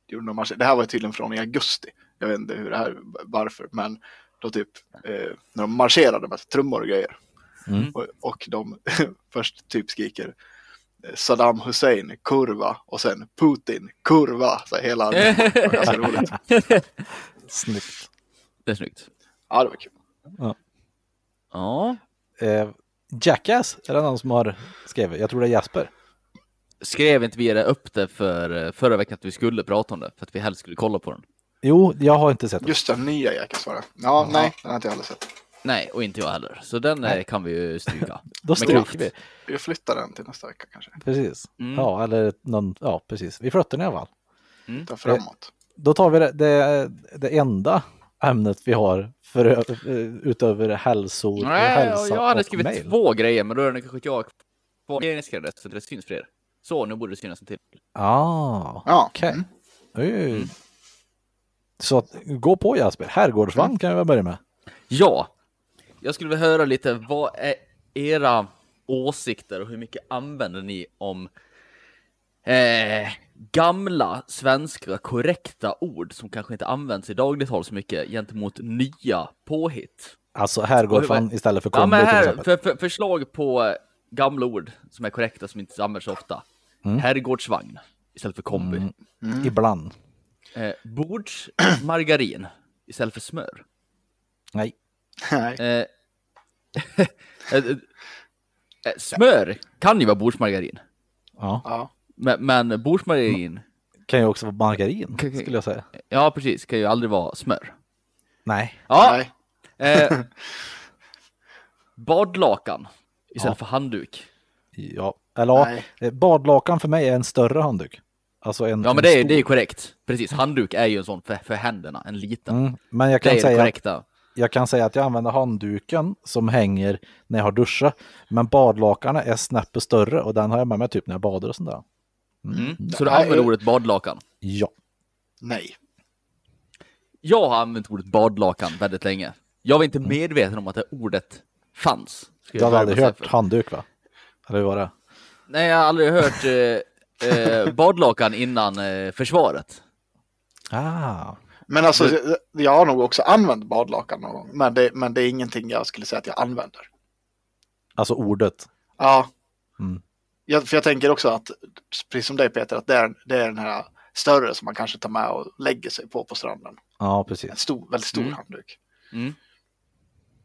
Speaker 2: gjorde någon marsch. Det här var tydligen från i augusti. Jag vet inte hur det här, varför, men då typ eh, när de marscherade med trummor och grejer.
Speaker 4: Mm.
Speaker 2: Och, och de [laughs] först typ skriker eh, Saddam Hussein, kurva, och sen Putin, kurva. Så hela
Speaker 5: Eh.
Speaker 2: armén. Det var ganska roligt.
Speaker 4: [laughs] Snyggt.
Speaker 5: Det är snyggt.
Speaker 2: Ja, det var kul.
Speaker 5: Ja.
Speaker 4: Eh, Jackass är det någon som har skrivit. Jag tror det är Jesper.
Speaker 5: Skrev inte vi det upp det för eh, förra veckan att vi skulle prata om det? För att vi helst skulle kolla på den.
Speaker 4: Jo, jag har inte sett den.
Speaker 2: Just den nya jäkeln var det. Ja, nej, den har inte jag heller sett.
Speaker 5: Nej, och inte jag heller. Så den eh, kan vi ju stryka.
Speaker 4: [laughs] Då
Speaker 5: kraft.
Speaker 4: stryker vi.
Speaker 2: Vi flyttar den till nästa vecka kanske.
Speaker 4: Precis.
Speaker 5: Mm.
Speaker 4: Ja, eller någon, ja, precis. Vi flyttar den i alla fall.
Speaker 2: Ta framåt.
Speaker 4: Då tar vi det, det, det enda ämnet vi har för, eh, utöver hälsor,
Speaker 5: Nej, och
Speaker 4: hälsa
Speaker 5: jag hade
Speaker 4: och
Speaker 5: skrivit
Speaker 4: mail.
Speaker 5: två grejer, men då är det kanske jag kvar. Jag skrev det, så det syns för er. Så, nu borde det synas en till.
Speaker 4: Ah,
Speaker 2: Ja.
Speaker 4: okej.
Speaker 2: Mm.
Speaker 4: Oj. Så att, gå på Jasper. Herrgårdsvagn
Speaker 5: Mm.
Speaker 4: kan jag väl börja med.
Speaker 5: Ja, jag skulle vilja höra lite vad är era åsikter och hur mycket använder ni om eh, gamla svenska korrekta ord som kanske inte används i dagligt tal så mycket gentemot nya påhitt?
Speaker 4: Alltså herrgårdsvagn istället för kombo
Speaker 5: Ja, men
Speaker 4: till
Speaker 5: här,
Speaker 4: exempel.
Speaker 5: för, för, förslag på eh, gamla ord som är korrekta som inte används så ofta. Herrgårdsvagn istället för kombi.
Speaker 4: Mm.
Speaker 5: Mm.
Speaker 4: Ibland.
Speaker 5: Eh, [clears throat] bordsmargarin istället för smör.
Speaker 4: Nej.
Speaker 2: [laughs] Nej.
Speaker 5: Eh, [laughs] eh, eh, eh, smör kan ju vara bordsmargarin,
Speaker 4: Ja.
Speaker 2: Ja.
Speaker 5: men, men bordsmargarin,
Speaker 4: Kan ju också vara margarin
Speaker 5: Kan- kan-
Speaker 4: skulle jag säga.
Speaker 5: ja precis, kan ju aldrig vara smör.
Speaker 4: Nej.
Speaker 5: Ja,
Speaker 2: Nej.
Speaker 4: [laughs]
Speaker 5: eh, badlakan istället
Speaker 4: Ja.
Speaker 5: för handduk.
Speaker 4: Ja. Eller ja,
Speaker 2: Nej.
Speaker 4: eh, badlakan för mig är en större handduk. Alltså en,
Speaker 5: Ja,
Speaker 4: en
Speaker 5: men det är,
Speaker 4: stor.
Speaker 5: det är korrekt. Precis, handduk är ju en sån för, för händerna, en liten.
Speaker 4: Mm. Men jag
Speaker 5: Det
Speaker 4: kan,
Speaker 5: är det
Speaker 4: säga,
Speaker 5: korrekta.
Speaker 4: jag kan säga att jag använder handduken som hänger när jag har duschat. Men badlakanet är snäppet större och den har jag med mig typ när jag badar och sånt där.
Speaker 5: Mm. Så du
Speaker 2: Nej,
Speaker 5: använder
Speaker 4: eh,
Speaker 2: jag-
Speaker 5: ordet badlakan.
Speaker 4: Ja.
Speaker 2: Nej.
Speaker 5: Jag har använt ordet badlakan väldigt länge. Jag var inte medveten om att det ordet fanns. Ska
Speaker 4: Du hade
Speaker 5: börja
Speaker 4: aldrig
Speaker 5: med att
Speaker 4: hört
Speaker 5: säga för-
Speaker 4: handduk va? Eller hur var det?
Speaker 5: Nej, jag har aldrig hört eh, eh, badlakan innan eh, försvaret.
Speaker 4: Ah.
Speaker 2: Men alltså, jag- jag har nog också använt badlakan någon gång. Men det, men det är ingenting jag skulle säga att jag använder.
Speaker 4: Alltså ordet.
Speaker 2: Ja.
Speaker 4: Mm.
Speaker 2: Jag, för jag tänker också att, precis som dig Peter, att det är, det är den här större som man kanske tar med och lägger sig på på stranden.
Speaker 4: Ja, precis.
Speaker 2: En stor, väldigt
Speaker 4: Mm.
Speaker 2: stor handduk.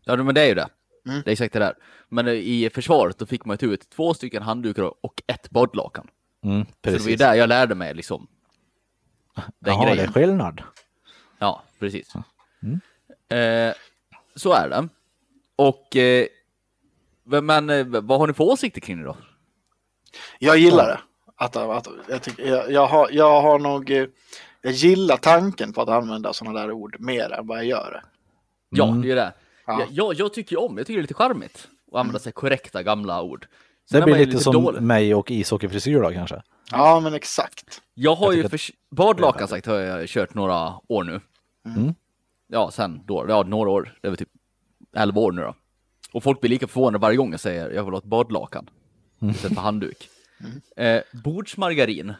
Speaker 5: Ja, men det är ju det.
Speaker 2: Mm.
Speaker 5: Det är exakt det där. Men eh, i försvaret då fick man ju ta ut två stycken handdukar och ett badlakan.
Speaker 4: Mm,
Speaker 5: Så det var ju
Speaker 4: precis.
Speaker 5: där jag lärde mig liksom. Den
Speaker 4: Jaha, det
Speaker 5: grejen.
Speaker 4: är skillnad.
Speaker 5: Ja, precis.
Speaker 4: Mm.
Speaker 5: Eh, så är det. Och eh, men eh, vad har ni för åsikter kring det då?
Speaker 2: Jag gillar det. Att, att, jag, tycker, jag, jag, har, jag har nog... eh, Jag gillar tanken på att använda sådana där ord mer än vad jag gör
Speaker 5: Ja,
Speaker 2: det.
Speaker 4: Mm.
Speaker 5: det är ju det.
Speaker 2: Ja.
Speaker 5: Jag, jag, jag tycker ju om, jag tycker det är lite charmigt att använda sig korrekta gamla ord. Sen
Speaker 4: Det
Speaker 5: är
Speaker 4: blir
Speaker 5: man ju
Speaker 4: lite, som
Speaker 5: dålig.
Speaker 4: mig och ishockeyfrisyr då kanske.
Speaker 2: Ja, men exakt.
Speaker 5: Jag har
Speaker 4: Jag
Speaker 5: ju
Speaker 4: tycker
Speaker 5: förs- badlakan sagt har jag kört några år nu. Ja, sen då, ja, några år, det är väl typ 11 år nu då. Och folk blir lika förvånade varje gång jag säger jag vill ha ett badlakan istället för handduk. Eh, bordsmargarin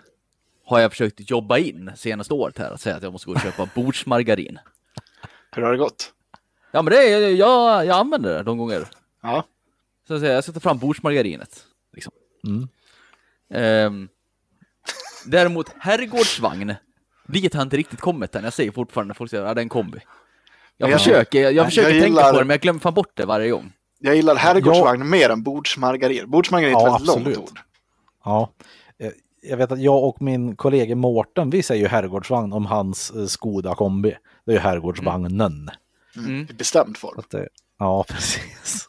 Speaker 5: har jag försökt jobba in senaste året här, att säga att jag måste gå och köpa bordsmargarin.
Speaker 2: Hur har det gått?
Speaker 5: Ja, men det är, jag, jag använder det de gånger.
Speaker 2: Ja.
Speaker 5: Så att säga, jag sätter fram bordsmargarinet. Liksom.
Speaker 4: Mm.
Speaker 5: Ehm, däremot herrgårdsvagn, dit har jag inte riktigt kommit än. Jag säger fortfarande, folk säger att ja, det är en kombi. Jag
Speaker 2: Jag-
Speaker 5: försöker, jag, jag
Speaker 2: jag
Speaker 5: försöker tänka
Speaker 2: gillar-
Speaker 5: på det, men jag glömmer fan bort det varje gång.
Speaker 2: Jag gillar herrgårdsvagn mer än bordsmargarin. Bordsmargarin är ett
Speaker 4: Ja,
Speaker 2: väldigt
Speaker 4: absolut.
Speaker 2: långt ord.
Speaker 4: Ja. Eh, Jag vet att jag och min kollega Mårten, vi säger ju herrgårdsvagn om hans eh, Skoda kombi. Det är ju herrgårdsvagnen.
Speaker 2: Mm.
Speaker 5: Mm.
Speaker 2: I bestämd form.
Speaker 4: Att det, ja, [laughs] precis.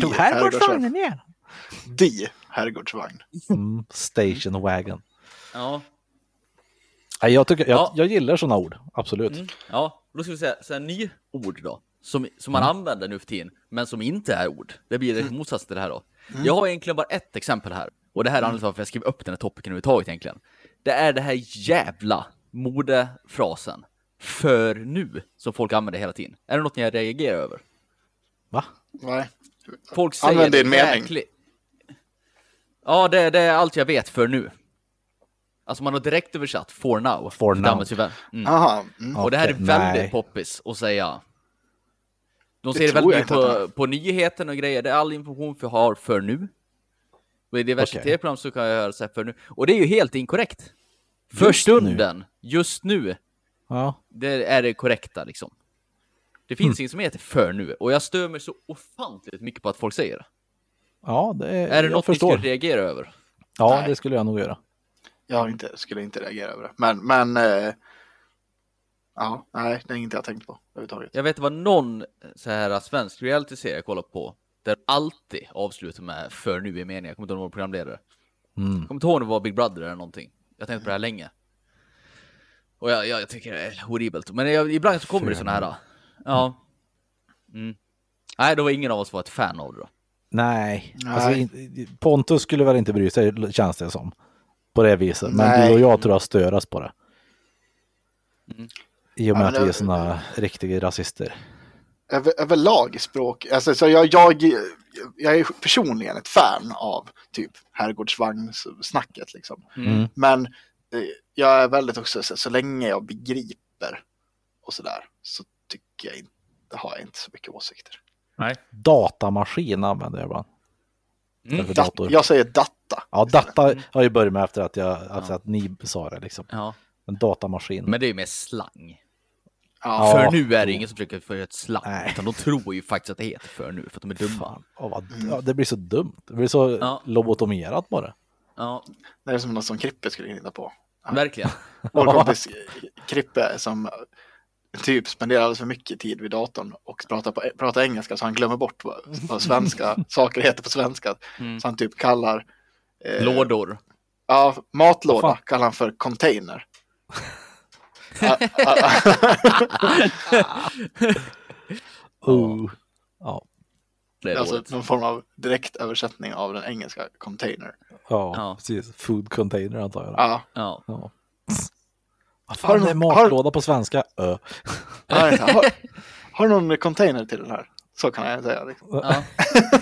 Speaker 2: De herrgårdsvagn.
Speaker 4: igen.
Speaker 2: De herrgårdsvagn.
Speaker 4: Mm, station wagon.
Speaker 5: Ja,
Speaker 4: Nej, jag, tycker, jag,
Speaker 5: Ja.
Speaker 4: jag gillar sådana ord, absolut.
Speaker 5: mm. ja. då ska vi säga så här, ny ord då, som, som
Speaker 4: Mm.
Speaker 5: man använder nu för tiden, men som inte är ord. Det blir det motsatsen till det här då.
Speaker 4: Mm.
Speaker 5: Jag har egentligen bara ett exempel här, och det här är anledningen till varför jag skrev upp den här topicen överhuvudtaget egentligen. Det är det här jävla modefrasen, för nu, som folk använder hela tiden. Är det något ni reagerar över?
Speaker 4: Va?
Speaker 2: Nej.
Speaker 5: Folk säger
Speaker 2: Använd din mening.
Speaker 5: jäkli- Ja, det, det är allt jag vet för nu. Alltså man har direkt översatt for now.
Speaker 4: For
Speaker 5: Det
Speaker 4: now.
Speaker 5: används ju väl- Mm.
Speaker 2: Aha. Mm.
Speaker 5: Och det här är
Speaker 4: Okej,
Speaker 5: väldigt
Speaker 4: nej.
Speaker 5: poppis att säga. De
Speaker 2: Det
Speaker 5: ser det
Speaker 2: tror
Speaker 5: väldigt mycket
Speaker 2: jag inte att
Speaker 5: på, på nyheten och grejer. Det är all information vi har för nu. Och i diverse
Speaker 4: Okej.
Speaker 5: tv-program så kan jag höra så här för nu. Och det är ju helt inkorrekt. För
Speaker 4: Just nu.
Speaker 5: stunden, just nu,
Speaker 4: Ja.
Speaker 5: det är det korrekta liksom. Det finns
Speaker 4: Hmm.
Speaker 5: inget som heter för nu. Och jag stör mig så ofantligt mycket på att folk säger det.
Speaker 4: ja, det
Speaker 5: Är
Speaker 4: är,
Speaker 5: det
Speaker 4: jag
Speaker 5: något
Speaker 4: förstår.
Speaker 5: ni skulle reagera över?
Speaker 4: Ja,
Speaker 2: Nej.
Speaker 4: det skulle jag nog göra.
Speaker 2: Jag har inte, skulle inte reagera över det. Men, men. Eh, ja, nej, det är inget jag har tänkt på överhuvudtaget.
Speaker 5: Jag vet det var någon så här svensk realityserie jag kollade på där alltid avslutar med för nu i meningen. Jag kommer inte ihåg någon programledare.
Speaker 4: Mm.
Speaker 5: Jag kommer inte ihåg om det var Big Brother eller någonting. Jag har tänkt på det här länge. Och jag, jag, jag tycker det är horribelt. Men jag, ibland så kommer det sådana här. Ja. Mm. Nej, då var ingen av oss var ett fan av det då.
Speaker 4: Nej,
Speaker 2: Nej.
Speaker 4: Alltså, in- Pontus skulle väl inte bry sig, känns det som. På det viset. Men
Speaker 2: Nej.
Speaker 4: du och jag tror jag störas på det.
Speaker 5: Mm.
Speaker 4: I och med
Speaker 2: Ja, men
Speaker 4: att vi är
Speaker 2: det-
Speaker 4: sådana riktiga rasister.
Speaker 2: Över, överlag i språk. Alltså, så jag, jag, jag är personligen ett fan av typ herrgårdsvagnssnacket liksom.
Speaker 4: Mm.
Speaker 2: Men eh, jag är väldigt också så, så länge jag begriper och sådär så tycker jag inte, har jag inte så mycket åsikter.
Speaker 4: Datamaskin använder jag ibland.
Speaker 5: Mm.
Speaker 4: Istället för
Speaker 2: Dat,
Speaker 4: dator.
Speaker 2: jag säger datta.
Speaker 4: Ja, data har ju börjat med efter att, jag, alltså att ni sa det liksom.
Speaker 5: Ja.
Speaker 4: En datamaskin.
Speaker 5: Men det är ju mer slang.
Speaker 2: Ja,
Speaker 5: För nu är det ingen som försöker för ett slang.
Speaker 4: Nej.
Speaker 5: Utan de tror ju faktiskt att det heter för nu för att de är dumma.
Speaker 4: Fan, åh, vad, ja, det blir så dumt. Det blir så
Speaker 5: Ja.
Speaker 4: lobotomerat bara.
Speaker 5: Ja,
Speaker 2: det är som något som Krippe skulle hitta
Speaker 4: [laughs]
Speaker 2: på.
Speaker 5: verkligen.
Speaker 2: Vår kompis eh, Krippe som typ spenderar alldeles för mycket tid vid datorn och pratar, på, pratar engelska så han glömmer bort vad, vad
Speaker 4: [laughs]
Speaker 2: svenska saker heter på svenska.
Speaker 5: Mm.
Speaker 2: Så han typ kallar eh,
Speaker 5: Lådor.
Speaker 2: Ja, matlåda
Speaker 4: Fan.
Speaker 2: kallar han för
Speaker 4: [laughs]
Speaker 2: container. Ah, ah, ah.
Speaker 4: Oh. Ja.
Speaker 5: Det är
Speaker 2: alltså
Speaker 5: dåligt.
Speaker 2: någon form av direkt översättning av den engelska container.
Speaker 4: Ja,
Speaker 5: Ja.
Speaker 4: precis. Food container antar jag.
Speaker 2: Ja,
Speaker 5: Ja.
Speaker 4: Ja. Vad
Speaker 2: Har
Speaker 4: fan
Speaker 2: du
Speaker 4: är
Speaker 2: någon- har-
Speaker 4: matlåda på svenska? Ö.
Speaker 2: har,
Speaker 5: [laughs]
Speaker 2: har, har du någon container till den här? Så kan jag
Speaker 5: [laughs]
Speaker 2: säga. Liksom.
Speaker 5: ja.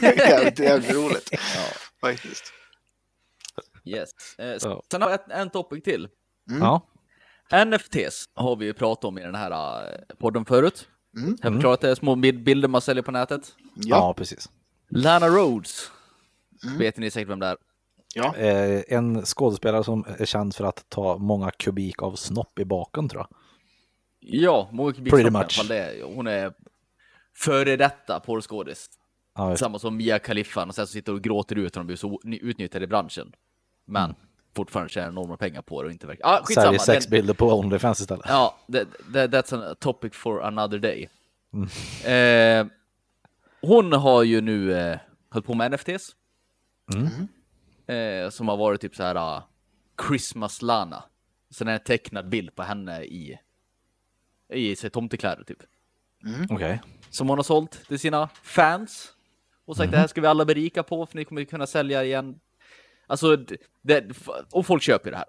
Speaker 2: jävligt, jävligt roligt
Speaker 5: ja.
Speaker 2: faktiskt.
Speaker 5: Yes. Eh,
Speaker 4: Ja.
Speaker 5: Sen har jag ett, en topic till.
Speaker 2: Mm.
Speaker 4: Ja.
Speaker 5: NFTs har vi ju pratat om i den här eh, podden förut.
Speaker 2: Mm.
Speaker 5: Jag har förklarat det, små bild- bilder man säljer på nätet.
Speaker 2: Ja,
Speaker 4: Ja, precis.
Speaker 5: Lana Rhodes. Vet ni säkert vem det är?
Speaker 2: ja.
Speaker 4: Eh, en skådespelare som är känd för att ta många kubik av snopp i baken tror jag.
Speaker 5: Ja, många kubik
Speaker 4: Pretty
Speaker 5: i alla
Speaker 4: much.
Speaker 5: fall det. är- Hon är före detta porrskådis.
Speaker 4: Ja, just-
Speaker 5: Samma som Mia Khalifan och sen så sitter och gråter ut när de blir så ny- utnyttjade i branschen. Men fortfarande tjänar enorma pengar på det och inte verkar... Ah, skitsamma!
Speaker 4: Mm. Säljer
Speaker 5: den-
Speaker 4: sexbilder på Onlyfans istället.
Speaker 5: Ja, that, that, that's a topic for another day. Eh, hon har ju nu eh, hållit på med NFTs. Eh, som har varit typ så här ah, Christmas Lana. Sen är det en tecknad bild på henne i, i sig tomtekläder typ.
Speaker 4: Okej.
Speaker 5: Som hon har sålt till sina fans. Och sagt det här ska vi alla berika på för ni kommer kunna sälja igen. Alltså, d- det, och folk köper ju det här.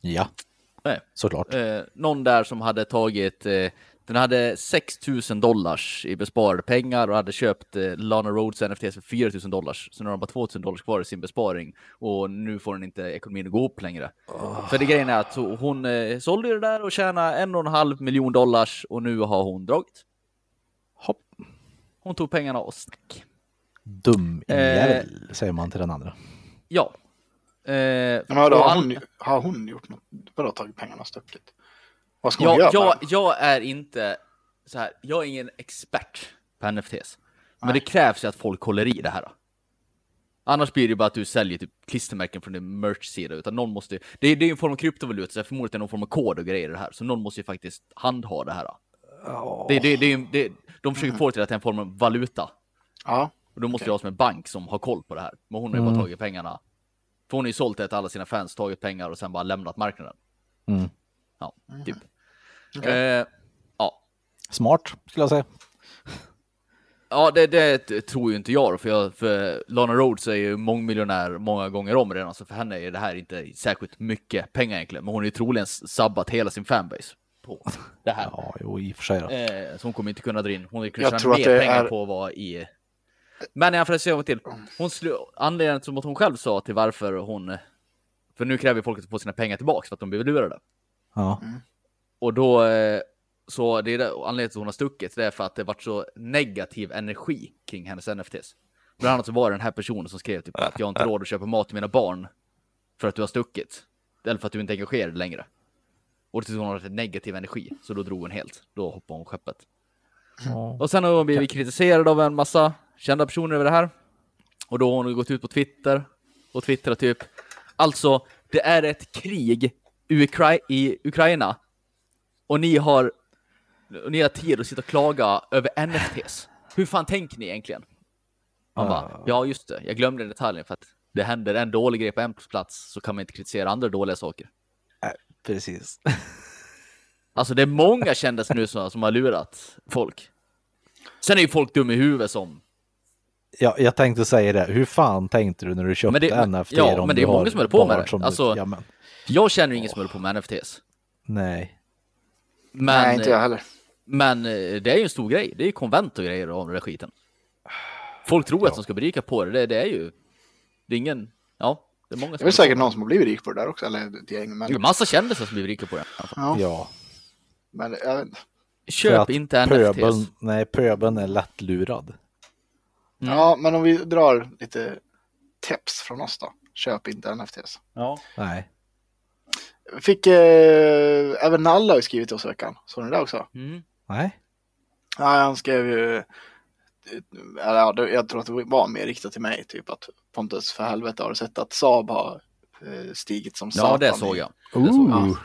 Speaker 4: Ja,
Speaker 5: Nej.
Speaker 4: såklart.
Speaker 5: Eh, någon där som hade tagit, eh, den hade 6 000 dollars i besparade pengar och hade köpt eh, Lana Rhodes NFT för 4 000 dollars. Så nu har de bara 2 000 dollars kvar i sin besparing och nu får den inte ekonomin att gå upp längre. För det grejen är att så- hon eh, sålde ju det där och tjänade en och en halv miljon dollars och nu har hon dragit.
Speaker 4: Hopp.
Speaker 5: Hon tog pengarna och stack.
Speaker 4: Dum
Speaker 5: Eh.
Speaker 4: jävel, säger man till den andra.
Speaker 5: Ja. Eh,
Speaker 2: Men vadå,
Speaker 5: och
Speaker 2: har,
Speaker 5: all-
Speaker 2: hon, har hon gjort något? Vadå tagit pengarna och stuckit? Vad ska hon
Speaker 5: jag,
Speaker 2: göra?
Speaker 5: jag, jag är inte så här, jag är ingen expert på NFTs. Men det krävs ju att folk håller i det här. Då. Annars blir det ju bara att du säljer typ klistermärken från din merch-sida. Utan någon måste, ju- det, är- det är ju en form av kryptovaluta, så det är förmodligen någon form av kod och grejer i det här. Så någon måste ju faktiskt handha det här. Då. Det, det, det, är- det, de försöker få det till att det är en form av valuta.
Speaker 2: Ja.
Speaker 5: Och då måste jag ha som en bank som har koll på det här. Men hon har ju bara tagit pengarna. För hon har ju sålt det till alla sina fans, tagit pengar och sen bara lämnat marknaden.
Speaker 4: Mm.
Speaker 5: Ja, typ. Eh, ja,
Speaker 4: Smart, skulle jag säga.
Speaker 5: ja det, det t- tror ju inte jag då, för, jag, för Lana Rhodes är ju mångmiljonär många gånger om redan, så för henne är det här inte särskilt mycket pengar egentligen. Men hon har ju troligen s- sabbat hela sin fanbase på det här.
Speaker 4: Ja, jo, i och för sig. då.
Speaker 5: Eh, så hon kommer inte kunna dra in. Hon kommer tjäna
Speaker 2: tror att
Speaker 5: mer
Speaker 2: det
Speaker 5: pengar
Speaker 2: är-
Speaker 5: på att vara i... Men jag får säga vad till. Hon slu... Anledningen som att hon själv sa till varför hon... För nu kräver ju folk att få sina pengar tillbaka för att de blev lurade.
Speaker 4: Ja.
Speaker 5: Mm. Och då... eh, Så det är det... och anledningen till att hon har stuckit, det är för att det varit så negativ energi kring hennes NFTs. Bland annat så var det den här personen som skrev typ att jag har inte råd att köpa mat till mina barn för att du har stuckit. Eller för att du inte är engagerad längre. Och tills hon har varit negativ energi, så då drog hon helt. Då hoppade hon skeppet. Och sen har hon blivit kritiserad av en massa kända personer över det här. Och då har hon gått ut på Twitter och twittrat typ. Alltså, det är ett krig i, Ukra- i Ukraina. Och ni har, och ni har tid att sitta och klaga över NFTs. Hur fan tänker ni egentligen? Man bara, ja just det, jag glömde den detaljen för att det händer en dålig grej på en plats så kan man inte kritisera andra dåliga saker.
Speaker 4: Precis.
Speaker 5: Alltså det är många kändisar nu som, som har lurat folk. Sen är ju folk dum i huvudet som
Speaker 4: Ja, jag tänkte säga det. Hur fan tänkte du när du köpte
Speaker 5: Men det- men-
Speaker 4: NFT?
Speaker 5: ja,
Speaker 4: om
Speaker 5: men det
Speaker 4: du
Speaker 5: är många
Speaker 4: har
Speaker 5: som håller på med
Speaker 4: barn
Speaker 5: det.
Speaker 4: som-
Speaker 5: Alltså-
Speaker 4: ja, men,
Speaker 5: Jag känner ju ingen som håller på med NFTs.
Speaker 4: nej.
Speaker 5: Men, eh,
Speaker 2: Nej, inte jag heller.
Speaker 5: men eh, det är ju en stor grej. Det är ju konvent och grejer om den där skiten. Folk tror att de ska bli rika på det. det. Det är ju... Det är ingen... Ja, det är många
Speaker 2: Det
Speaker 5: som...
Speaker 2: är väl säkert någon som har blivit rik på det där också, eller ett gäng.
Speaker 5: Det är
Speaker 2: Men,
Speaker 5: massa kändisar som blir rika på det.
Speaker 2: ja,
Speaker 4: Ja.
Speaker 2: men jag vet inte.
Speaker 4: För
Speaker 5: Köp
Speaker 4: att
Speaker 5: inte
Speaker 4: pöbeln,
Speaker 5: NFTs.
Speaker 4: Nej, pöbeln är lättlurad.
Speaker 5: Mm.
Speaker 2: Ja, men om vi drar lite tips från oss då. Köp inte NFTs.
Speaker 5: Ja.
Speaker 4: Nej.
Speaker 2: Fick eh, även Nalla har ju skrivit till oss i veckan. Såg ni det också?
Speaker 5: Mm.
Speaker 4: Nej.
Speaker 2: Ja, han skrev ju, eller ja, det- jag tror att det var mer riktat till mig, typ att Pontus för helvete har du sett att Saab har eh, stigit som
Speaker 5: ja,
Speaker 2: satan.
Speaker 5: det
Speaker 2: i-
Speaker 5: såg jag. Det, såg jag.
Speaker 2: Ooh.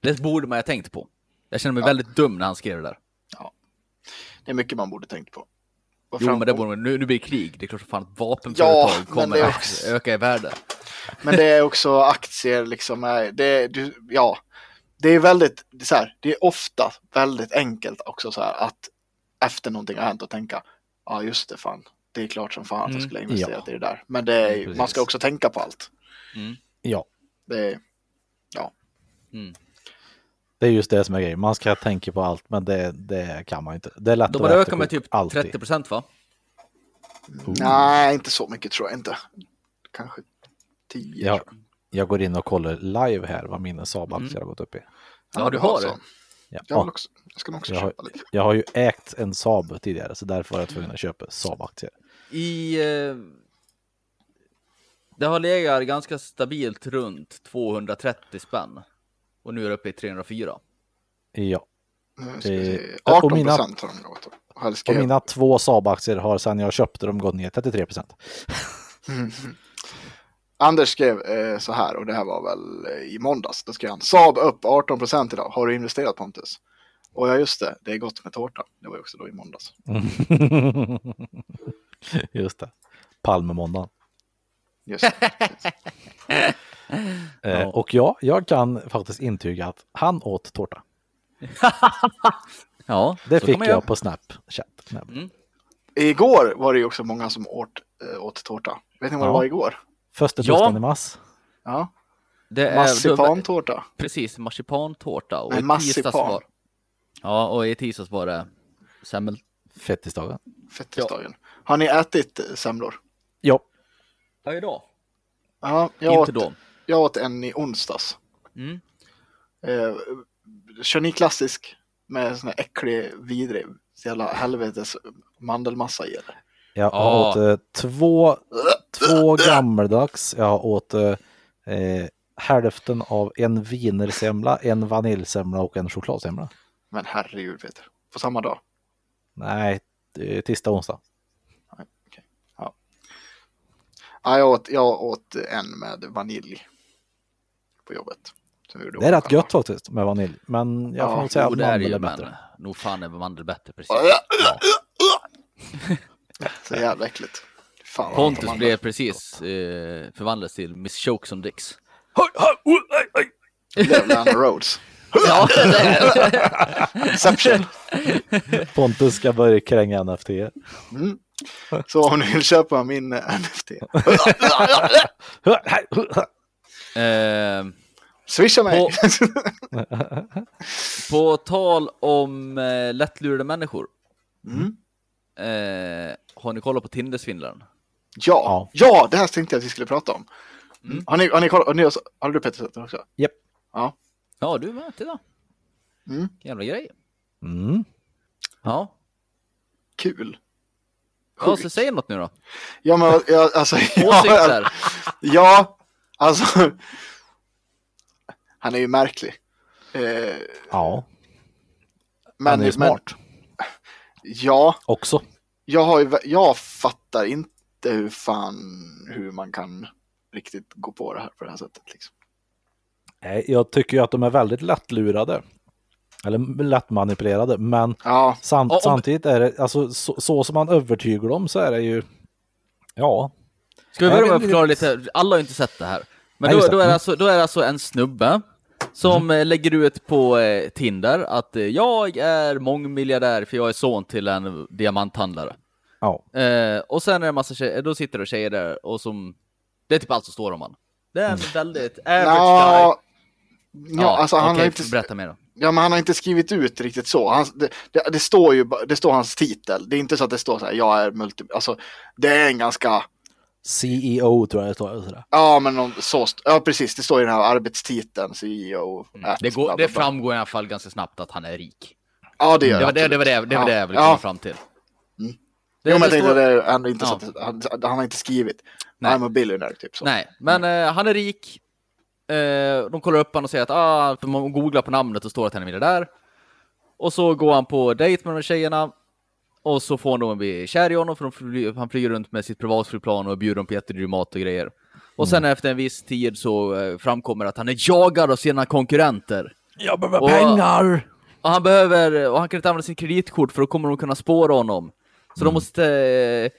Speaker 5: det borde man ha tänkt på. Jag känner mig
Speaker 2: Ja.
Speaker 5: väldigt dum när han skrev det där.
Speaker 2: Det är mycket man borde tänkt på. Och
Speaker 5: Jo,
Speaker 2: fram-
Speaker 5: men det borde man, nu, nu blir det krig. Det är klart som fan att vapenföretag
Speaker 2: men
Speaker 5: kommer
Speaker 2: det är
Speaker 5: att
Speaker 2: också-
Speaker 5: öka i värde.
Speaker 2: men det är också aktier liksom, är- det, är- du, ja, det är väldigt, det är så här, det är ofta väldigt enkelt också så här att efter någonting har hänt att tänka, ja just det fan, det är klart som fan att jag
Speaker 5: Mm,
Speaker 2: skulle ha investerat
Speaker 4: ja.
Speaker 2: i det där. Men det är,
Speaker 4: Precis.
Speaker 2: man ska också tänka på allt.
Speaker 4: Ja,
Speaker 2: Det är, ja.
Speaker 4: det är just det som är grejen. Man ska tänka på allt, men det, det kan man inte. Det är lätt
Speaker 5: De
Speaker 4: att
Speaker 5: har ökat med
Speaker 4: efterkoka
Speaker 5: typ
Speaker 4: alltid.
Speaker 5: 30 procent va?
Speaker 2: Nej, inte så mycket tror jag inte. Kanske 10.
Speaker 4: Ja,
Speaker 2: tror jag.
Speaker 4: jag går in och kollar live här vad mina Saab-aktier
Speaker 5: Mm.
Speaker 4: har gått upp i.
Speaker 5: Ja,
Speaker 2: men
Speaker 5: du
Speaker 2: har
Speaker 5: har
Speaker 2: så.
Speaker 5: det.
Speaker 4: Ja.
Speaker 2: Jag, vill också, jag ska nog också
Speaker 4: Jag har-
Speaker 2: köpa lite.
Speaker 4: Jag har ju ägt en Saab tidigare, så därför var jag tvungen att köpa Saab-aktier.
Speaker 5: I... Eh, det har legat ganska stabilt runt 230 spänn. Och nu är det uppe i 304.
Speaker 4: Ja,
Speaker 2: Nu ska
Speaker 4: Eh,
Speaker 2: vi se.
Speaker 4: och
Speaker 2: 18
Speaker 4: mina-
Speaker 2: procent har de gått upp. Och helst
Speaker 4: och
Speaker 2: skrev-
Speaker 4: mina två Saab-aktier har sedan jag köpte dem gått ner 33 procent.
Speaker 2: Anders skrev eh, så här, och det här var väl eh, i måndags. Då skrev han Saab upp 18 procent idag. Har du investerat Pontus? Och ja, just det. Det är gott med tårta. Det var ju också då i måndags.
Speaker 4: Mm. [laughs] Just det. Palmemåndagen.
Speaker 2: Just
Speaker 5: [laughs]
Speaker 2: det.
Speaker 4: Eh, och ja, jag kan faktiskt intyga att han åt tårta.
Speaker 5: Ja,
Speaker 4: Det
Speaker 5: så
Speaker 4: fick
Speaker 5: kan man
Speaker 4: jag
Speaker 5: göra.
Speaker 4: på Snapchat. nämligen.
Speaker 2: Igår var det ju också många som åt, eh, åt tårta. Vet ni vad det
Speaker 4: Ja.
Speaker 2: var igår?
Speaker 4: Första
Speaker 5: Ja.
Speaker 4: torsdagen i mars.
Speaker 2: Ja,
Speaker 5: Det är-
Speaker 2: marsipantårta.
Speaker 5: Precis, marsipantårta. Och
Speaker 2: Nej,
Speaker 5: i tisdags
Speaker 2: marsipan.
Speaker 5: var... Ja, och i tisdags var det semmel.
Speaker 4: Fettisdagen.
Speaker 2: Fettisdagen. Har ni ätit eh, semlor?
Speaker 4: Ja.
Speaker 5: Ja, idag.
Speaker 2: Ja, jag
Speaker 5: Inte
Speaker 2: åt,
Speaker 5: då.
Speaker 2: jag åt en i onsdags.
Speaker 5: Mm.
Speaker 2: Eh, kör ni klassisk med sån här äcklig, vidrig, så jävla helvetes mandelmassa i eller?
Speaker 4: Jag
Speaker 5: Ja.
Speaker 4: har åt eh, två, två gammeldags. Jag har åt eh, eh, hälften av en wienersemla, en vaniljsemla och en chokladsemla.
Speaker 2: Men herregud Peter. på samma dag?
Speaker 4: Nej, det är tisdag, onsdag.
Speaker 2: Ja, jag, åt, jag åt en med vanilj på jobbet. Som vi gjorde
Speaker 4: Det är
Speaker 2: åt
Speaker 4: rätt
Speaker 2: själva.
Speaker 4: gött faktiskt med vanilj, men jag
Speaker 2: Ja,
Speaker 4: får nog säga
Speaker 5: Jo,
Speaker 4: att
Speaker 5: det är
Speaker 4: mandel
Speaker 5: det ju,
Speaker 4: är bättre.
Speaker 5: men nog fan är mandel bättre precis.
Speaker 2: Så jävla äckligt. Fan, vad gott
Speaker 5: Pontus
Speaker 2: om
Speaker 5: blev
Speaker 2: [laughs]
Speaker 5: precis eh, förvandlades till Miss Choke som Dicks.
Speaker 2: andra. Blev Lana Rhodes.
Speaker 5: [laughs] Ja,
Speaker 2: Inception.
Speaker 4: Pontus ska börja kränga NFT.
Speaker 2: Mm. Så om ni vill köpa min eh, NFT,
Speaker 5: eh,
Speaker 2: swisha mig. [laughs]
Speaker 5: På- på tal om eh, lättlurade människor.
Speaker 2: Mm.
Speaker 5: Eh, har ni kollat på Tindersvindlaren?
Speaker 2: Ja, ja, det här tänkte jag att vi skulle prata om.
Speaker 5: Mm.
Speaker 2: Har, ni, har, ni kollat, har, ni, också- har du Petter sett den också?
Speaker 5: Ja, du är med. Titta.
Speaker 2: Mm.
Speaker 5: Jävla grej.
Speaker 4: Mm.
Speaker 5: Ja.
Speaker 2: Kul.
Speaker 5: ja,
Speaker 2: Sjukt.
Speaker 5: så säg något nu
Speaker 2: [laughs]
Speaker 5: då.
Speaker 2: Ja, men jag, alltså, [laughs] ja,
Speaker 5: Åsikter.
Speaker 2: ja, alltså. [laughs] Han är ju märklig. Eh,
Speaker 4: Ja,
Speaker 2: men,
Speaker 4: han är ju smart
Speaker 2: Men, ja,
Speaker 4: också.
Speaker 2: jag, har ju, vä- jag fattar inte hur fan hur man kan riktigt gå på det här på det här sättet. Liksom.
Speaker 4: Nej, Jag tycker ju att de är väldigt lättlurade. Eller lättmanipulerade, men
Speaker 2: Ja,
Speaker 4: Samt,
Speaker 5: Ja, om-
Speaker 4: Samtidigt är det, alltså så, så som man övertygar dem så är det ju, ja,
Speaker 5: Ska vi
Speaker 4: Nej,
Speaker 5: börja med
Speaker 4: men
Speaker 5: att förklara lite? Alla har ju inte sett det här. Men
Speaker 4: Nej,
Speaker 5: då,
Speaker 4: just det.
Speaker 5: då, är det
Speaker 4: Mm.
Speaker 5: alltså, då är det alltså en snubbe som
Speaker 2: Mm.
Speaker 5: eh, lägger ut på eh, Tinder att eh, jag är mångmiljardär för jag är son till en diamanthandlare.
Speaker 4: ja,
Speaker 5: Eh, och sen är det en massa tjejer, då sitter det tjejer där och som, det är typ allt som står om han. Det är en väldigt average guy.
Speaker 2: Mm. ja, ja, alltså han
Speaker 5: okej,
Speaker 2: har inte... Äh,
Speaker 5: berätta mer då.
Speaker 2: Ja, men han har inte skrivit ut riktigt så. Han, det, det, det står ju ba- det står hans titel. Det är inte så att det står så här, jag är multi... Alltså, det är en ganska...
Speaker 4: CEO E tror jag det står. eller sådär.
Speaker 2: Ja, men om, så... st- Ja, precis. Det står i den här arbetstiteln, E CEO. at,
Speaker 5: Mm. Det,
Speaker 2: bla,
Speaker 5: går,
Speaker 2: bla,
Speaker 5: det
Speaker 2: bla.
Speaker 5: framgår i alla fall ganska snabbt att han är rik.
Speaker 2: Ja, det gör
Speaker 5: Det var Mm. det,
Speaker 2: absolut.
Speaker 5: det, var det, det, var det jag ville
Speaker 2: Ja.
Speaker 5: komma fram till.
Speaker 2: Mm.
Speaker 5: Det-
Speaker 2: Jo, men jag
Speaker 5: det
Speaker 2: tänkte
Speaker 5: står-
Speaker 2: det är ändå inte så
Speaker 5: Ja.
Speaker 2: att, det- han, han har inte skrivit.
Speaker 5: Nej.
Speaker 2: I'm a billionaire, typ så.
Speaker 5: Nej, men eh, han är rik. Eh, de kollar upp honom och säger att ah, för man googlar på namnet och står att han är miljardär. Och så går han på dejt med de här tjejerna. Och så får de bli kär i honom för de fly- han flyger runt med sitt privatflygplan och bjuder dem på jättedyr mat och grejer. Och sen efter en viss tid så eh, framkommer att han är jagad av sina konkurrenter.
Speaker 4: Jag behöver
Speaker 5: Och-
Speaker 4: pengar!
Speaker 5: Och han behöver, och han kan inte använda sin kreditkort för då kommer de kunna spåra honom. Så
Speaker 4: Mm.
Speaker 5: de måste eh,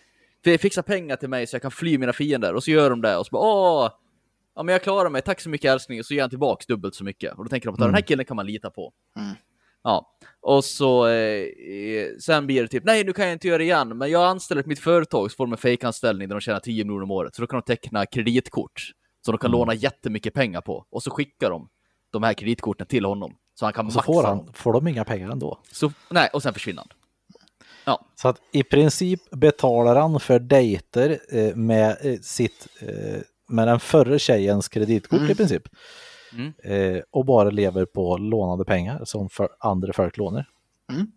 Speaker 5: fi- fixa pengar till mig så jag kan fly mina fiender. Och så gör de det och så bara åh, ja men jag klarar mig, tack så mycket älskling. Och så ger han tillbaks dubbelt så mycket. Och då tänker de att den här killen kan man lita på.
Speaker 2: Mm.
Speaker 5: Ja, och så eh, eh, sen blir det typ nej nu kan jag inte göra det igen, men jag anställer ett mitt företag så får de en fejkanställning där de tjänar 10 miljoner om året. Så då kan de teckna kreditkort som de
Speaker 4: Mm.
Speaker 5: kan låna jättemycket pengar på. Och så skickar de de här kreditkorten till honom. Så han kan
Speaker 4: Och så
Speaker 5: maxa
Speaker 4: får,
Speaker 5: dem.
Speaker 4: han, får de inga pengar ändå.
Speaker 5: Så, nej, och sen försvinner han.
Speaker 4: Så att i princip betalar han för dejter eh, med, eh, sitt, eh, med den förre tjejens kreditkort
Speaker 2: Mm.
Speaker 4: i princip.
Speaker 5: Mm.
Speaker 4: Eh, och bara lever på lånade pengar som för andra folk lånar.
Speaker 2: Mm.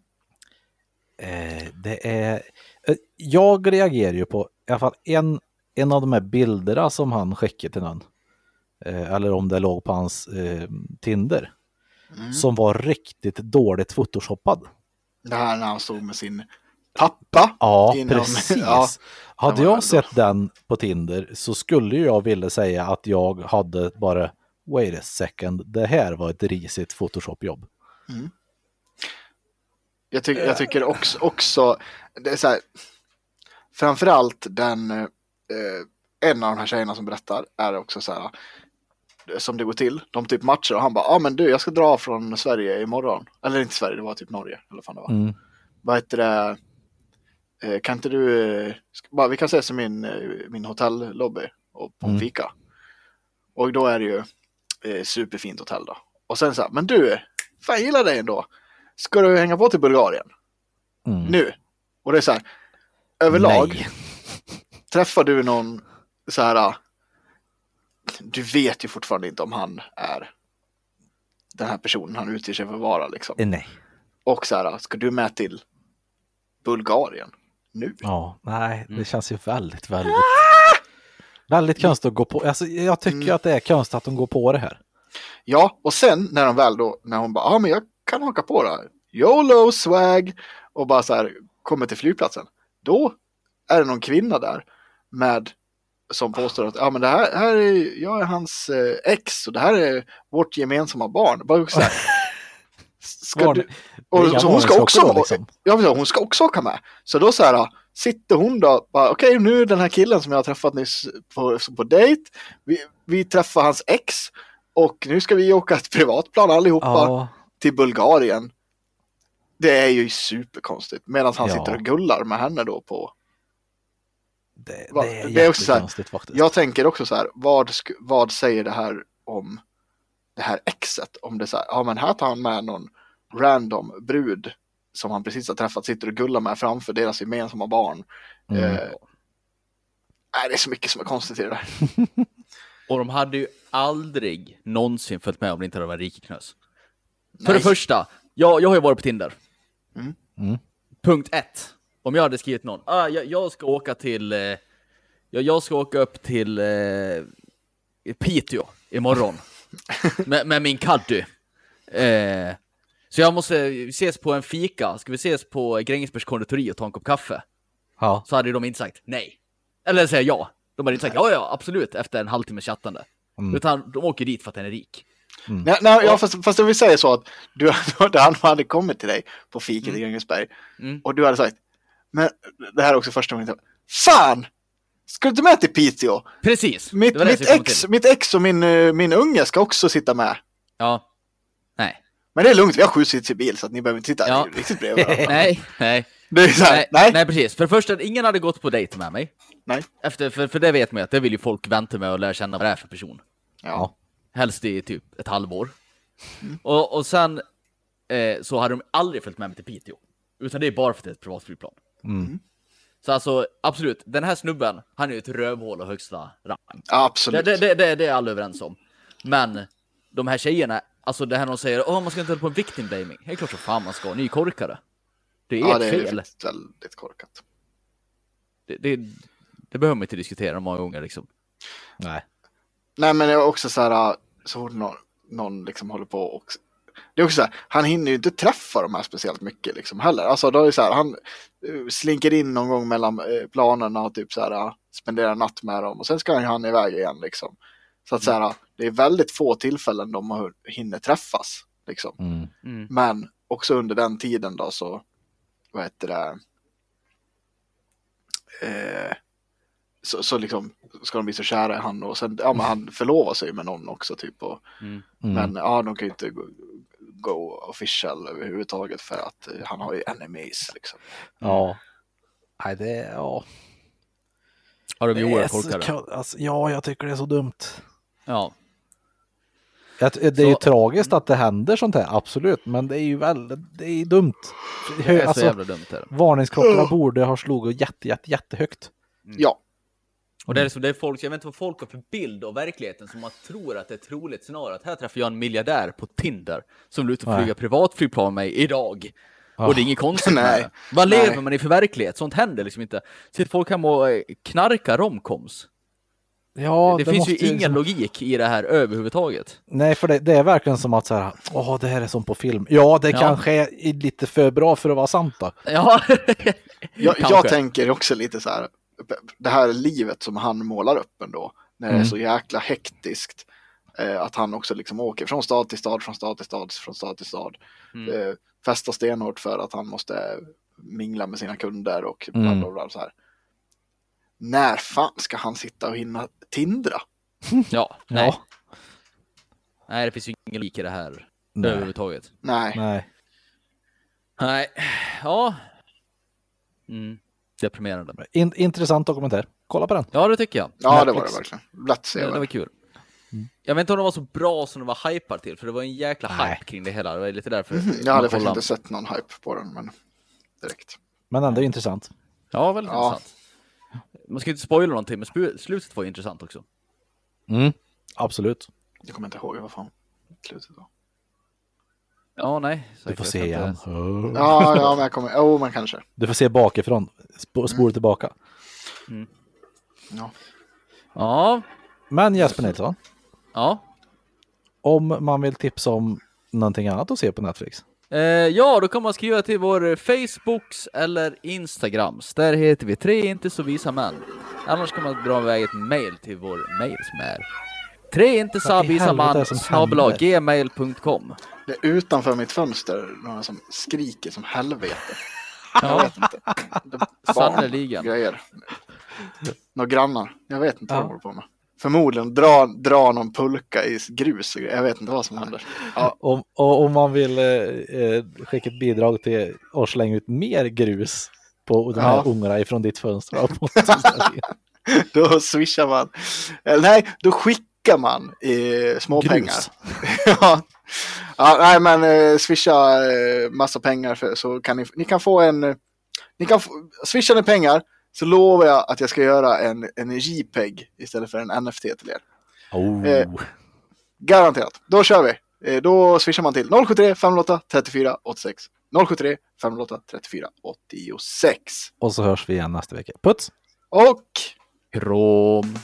Speaker 4: Eh, det är, eh, jag reagerar ju på i alla fall en, en av de här bilderna som han skickade till någon. Eh, eller om det låg på hans eh, Tinder.
Speaker 2: Mm.
Speaker 4: Som var riktigt dåligt photoshoppad.
Speaker 2: Det här när han stod med sin pappa.
Speaker 4: Ja,
Speaker 2: Innan- [laughs]
Speaker 4: precis.
Speaker 2: Ja,
Speaker 4: hade
Speaker 2: var
Speaker 4: jag
Speaker 2: väl då.
Speaker 4: sett den på Tinder så skulle ju jag vilja säga att jag hade bara Wait a second, det här var ett risigt Photoshop-jobb.
Speaker 2: Jag, ty- jag tycker också, också det är så här, framförallt den, eh, en av de här tjejerna som berättar är också så här, som det går till, de typ matchar och han bara, ja ah, men du jag ska dra från Sverige imorgon. Eller inte Sverige, det var typ Norge. Eller vad fan det var.
Speaker 4: Mm.
Speaker 2: Vad heter det? Eh, Kan inte du, eh, ska- bara, vi kan ses i min, eh, min hotellobby och på en
Speaker 4: Mm.
Speaker 2: fika. Och då är det ju eh, superfint hotell då. Och sen så här, men du, fan jag gillar dig ändå. Ska du hänga på till Bulgarien?
Speaker 4: Mm.
Speaker 2: nu. Och det är så här, överlag,
Speaker 4: Nej.
Speaker 2: träffar du någon så här, ah, du vet ju fortfarande inte om han är den här personen han utger sig för att vara liksom.
Speaker 4: Eh, Nej.
Speaker 2: Och så här, ah, ska du med till Bulgarien nu?
Speaker 4: Ja, nej,
Speaker 5: Mm.
Speaker 4: det känns ju väldigt, väldigt... Väldigt konstigt att gå på. Alltså, jag tycker
Speaker 2: Ah! Mm.
Speaker 4: att det är konstigt att de går på det här.
Speaker 2: Ja, och sen när de väl då, när hon bara, ja ah, men jag kan haka på det här. YOLO swag och bara så här kommer till flygplatsen. Då är det någon kvinna där med som påstår att ja, men det här, här är, jag är hans eh, ex och det här är vårt gemensamma barn. Bara så här. [laughs] Ska
Speaker 4: Barn-
Speaker 2: du, och,
Speaker 4: Inga
Speaker 2: så hon ska
Speaker 4: varningsklockor
Speaker 2: också,
Speaker 4: då,
Speaker 2: vara-
Speaker 4: liksom.
Speaker 2: ja, precis, hon ska också åka med. Så då så här, sitter hon då, bara, okej nu är den här killen som jag har träffat nyss på, på dejt, vi, vi träffar hans ex och nu ska vi åka ett privatplan allihopa
Speaker 4: Ja,
Speaker 2: till Bulgarien. Det är ju superkonstigt. Medan han
Speaker 4: Ja.
Speaker 2: sitter och gullar med henne då på.
Speaker 4: det,
Speaker 2: Va-
Speaker 4: det är
Speaker 2: det är också så här,
Speaker 4: jättekonstigt faktiskt.
Speaker 2: Jag tänker också så här, vad, sk- vad säger det här om det här exet? Om det är så här, ja men här tar han med någon random brud som han precis har träffat, sitter och gullar med framför deras gemensamma barn.
Speaker 4: Mm.
Speaker 2: Eh, nej, det är så mycket som är konstigt i det där.
Speaker 5: Och de hade ju aldrig någonsin följt med om det inte hade varit rikeknös. För
Speaker 2: Nej.
Speaker 5: det första, jag, jag har ju varit på Tinder.
Speaker 2: Mm.
Speaker 4: Mm.
Speaker 5: Punkt ett. Om jag hade skrivit någon, ah, jag, jag ska åka till, eh, jag, jag ska åka upp till eh, i Piteå
Speaker 2: [laughs]
Speaker 5: imorgon. med, med min caddy. Eh, så jag måste ses på en fika, ska vi ses på Grängesbergs konditori och ta en kopp kaffe?
Speaker 4: Ja,
Speaker 5: Så hade ju de inte sagt nej. Eller säga ja. De hade inte sagt ja, ja, absolut, efter en halvtimme chattande.
Speaker 4: Mm.
Speaker 5: Utan de åker dit för att den är rik.
Speaker 2: Nej, nej, ja, fast, fast om vi säger så att du, [laughs] han hade kommit till dig på fiket i Grängesberg
Speaker 5: Mm.
Speaker 2: och du hade sagt, men det här är också första gången, jag- fan! Ska du inte med till Piteå?
Speaker 5: Precis!
Speaker 2: Mitt,
Speaker 5: det var det jag
Speaker 2: mitt,
Speaker 5: skulle komma
Speaker 2: ex,
Speaker 5: till.
Speaker 2: mitt ex och min, eh, min unge ska också sitta med.
Speaker 5: Ja.
Speaker 2: [laughs]
Speaker 5: Nej.
Speaker 2: Men det är lugnt, vi har sju sits i bil så att ni behöver inte sitta
Speaker 5: Ja.
Speaker 2: riktigt
Speaker 5: [laughs]
Speaker 2: bredvid varandra.
Speaker 5: Nej, nej.
Speaker 2: Det är så här,
Speaker 5: Nej,
Speaker 2: nej.
Speaker 5: nej, precis. För det första, ingen hade gått på dejt med mig.
Speaker 2: Nej.
Speaker 5: Efter, för, för det vet man ju att det vill ju folk vänta med och lära känna vad det är för person.
Speaker 2: Ja.
Speaker 5: Helst i typ ett halvår. Och, och sen eh, så hade de aldrig följt med mig till Piteå. Utan det är bara för att det är ett privatflygplan.
Speaker 4: Mm.
Speaker 5: Så alltså, absolut. Den här snubben, han är ju ett rövhål av högsta rang. Det,
Speaker 2: Absolut.
Speaker 5: det, det, det, det är alla överens om. Men de här tjejerna, alltså det här de säger, åh man ska inte hålla på med victim blaming. Det är klart som fan man ska, ni är korkade. Det är
Speaker 2: ja,
Speaker 5: ert
Speaker 2: det är
Speaker 5: fel.
Speaker 2: faktiskt väldigt korkat.
Speaker 5: Det, det, det behöver man inte diskutera många gånger liksom.
Speaker 4: nej.
Speaker 2: Nej, men det är också så här, så fort någon, någon liksom håller på och... Det är också så här, han hinner ju inte träffa de här speciellt mycket liksom heller. Alltså då är det så här, han eh, slinker in någon gång mellan eh, planerna och typ så här, eh, spenderar natt med dem och sen ska han- han iväg igen liksom. Så att så här, det är väldigt få tillfällen de har- hinner träffas liksom.
Speaker 4: Mm.
Speaker 2: Men också under den tiden då så, vad heter det, eh, så, så liksom ska de bli så kära i han och sen, ja men han förlovar sig med någon också typ. Och,
Speaker 4: Mm.
Speaker 2: Men ja, de kan ju inte gå, gå official överhuvudtaget för att eh, han har ju enemies liksom.
Speaker 4: Ja. Nej, det är... Ja.
Speaker 5: Har de
Speaker 4: Det
Speaker 5: ju
Speaker 4: är
Speaker 5: oerhört
Speaker 4: så
Speaker 5: korkade.
Speaker 4: ka- alltså, ja, jag tycker det är så dumt.
Speaker 5: Ja.
Speaker 4: Jag, det är ju
Speaker 5: Så-
Speaker 4: tragiskt att det händer sånt här, absolut, men det är ju väldigt, det är ju dumt.
Speaker 5: Det är så
Speaker 4: alltså,
Speaker 5: jävla dumt det här.
Speaker 4: varningsklockorna
Speaker 2: Ugh.
Speaker 4: borde ha slagit jätte, jätte, jättehögt.
Speaker 2: Ja,
Speaker 5: Och det
Speaker 4: Mm.
Speaker 5: är som det är folk, jag vet inte vad folk har för bild av verkligheten som man tror att det är ett troligt scenario. Att här träffar jag en miljardär på Tinder som vill ut och
Speaker 4: Nej.
Speaker 5: flyga privatflygplan med mig idag.
Speaker 4: Ah.
Speaker 5: Och det är inget
Speaker 4: [laughs]
Speaker 5: konstigt med
Speaker 2: Nej.
Speaker 5: det. Vad
Speaker 2: Nej.
Speaker 5: lever man i för verklighet? Sånt händer liksom inte. Sitter folk hemma och eh, knarkar romcoms.
Speaker 4: Ah. Ja,
Speaker 5: det, finns
Speaker 4: måste
Speaker 5: ju ingen
Speaker 4: liksom-
Speaker 5: logik i det här överhuvudtaget.
Speaker 4: [laughs] Nej, för det, det är verkligen som att så här, åh, det här är som på film. Ja, det
Speaker 5: Ja.
Speaker 4: kanske är lite för bra för att vara sant då.
Speaker 5: Ja,
Speaker 2: jag, jag
Speaker 5: Kanske.
Speaker 2: tänker också lite så här, det här livet som han målar upp ändå, när det är
Speaker 4: Mm.
Speaker 2: så jäkla hektiskt, eh, att han också liksom åker från stad till stad, från stad till stad, från stad till stad,
Speaker 5: Mm.
Speaker 2: eh, festar stenhårt för att han måste mingla med sina kunder och bla
Speaker 4: Mm.
Speaker 2: bla bla. Så här. När fan ska han sitta och hinna tindra?
Speaker 5: Ja, nej.
Speaker 4: Ja.
Speaker 5: Nej, det finns ju ingen logik i det här
Speaker 4: Nej.
Speaker 5: överhuvudtaget.
Speaker 2: Nej,
Speaker 4: Nej.
Speaker 5: Nej, ja. Mm. Deprimerande.
Speaker 4: In, intressant dokumentär. Kolla på den.
Speaker 5: Ja, det tycker jag.
Speaker 2: ja det var
Speaker 4: Netflix.
Speaker 2: det verkligen. Lätt se.
Speaker 5: Det, det var kul.
Speaker 4: Mm.
Speaker 5: Jag vet inte om det var så bra som de var hypar till, för det var en jäkla
Speaker 4: Nej. Mhm,
Speaker 5: hype kring det hela. Det var lite därför.
Speaker 2: Mhm. Jag hade
Speaker 5: man
Speaker 2: faktiskt
Speaker 5: kollade.
Speaker 2: inte sett någon hype på den, men direkt.
Speaker 4: Men ändå intressant.
Speaker 5: Ja, väldigt
Speaker 2: Ja.
Speaker 5: intressant. Man ska ju inte spoila någonting, men spu- slutet var ju intressant också.
Speaker 4: Mm. Absolut.
Speaker 2: Jag kommer inte ihåg vad fan slutet var.
Speaker 5: Ja, nej.
Speaker 4: Du
Speaker 5: säkert.
Speaker 4: får
Speaker 5: Jag
Speaker 4: se
Speaker 5: kan inte-
Speaker 4: igen.
Speaker 2: Ja, ja, men jag kommer, jo, men kanske.
Speaker 4: Du får se bakifrån. Sp- spola tillbaka.
Speaker 2: Ja.
Speaker 5: Ja,
Speaker 4: Men
Speaker 5: Mm.
Speaker 4: Jesper Nilsson,
Speaker 5: ja.
Speaker 4: om man vill tipsa om någonting annat att se på Netflix.
Speaker 5: Eh, ja, då kan man skriva till vår Facebooks eller Instagrams. Där heter vi tre inte så visa män. Annars kan man dra iväg ett mail till vår mail som är tre inte så
Speaker 4: Vad i
Speaker 5: visa
Speaker 4: helvete är
Speaker 5: man
Speaker 4: det som
Speaker 5: snabel-a
Speaker 4: händer? [laughs]
Speaker 5: gmail.com.
Speaker 2: Det är utanför mitt fönster några som skriker som helvete. Jag vet inte. Det är barn,
Speaker 5: Sannerligen.
Speaker 2: Grejer. Några grannar. Jag vet inte vad
Speaker 4: Ja.
Speaker 2: de håller på med. Förmodligen dra, dra någon pulka i grus. och grejer. Jag vet inte vad som händer. Ja,
Speaker 4: Om, och om man vill eh, eh, skicka ett bidrag till och slänga ut mer grus på de här
Speaker 2: Ja.
Speaker 4: ungarna ifrån ditt fönster. och på-
Speaker 2: [laughs]
Speaker 4: Grus.
Speaker 2: då swishar man. Eller nej, då skickar man eh, småpengar. [laughs] ja. ja, nej men eh, swisha eh, massa pengar för, så kan ni, ni kan få en, eh, ni kan få, swisha ni pengar så lovar jag att jag ska göra en, en JPEG istället för en NFT till er.
Speaker 4: [laughs] Oh.
Speaker 2: Eh, Garanterat. Då kör vi. Eh, då swishar man till 073 508 34 86. 073 508 34 86.
Speaker 4: Och så hörs vi igen nästa vecka. Puts!
Speaker 2: Och
Speaker 5: Krom.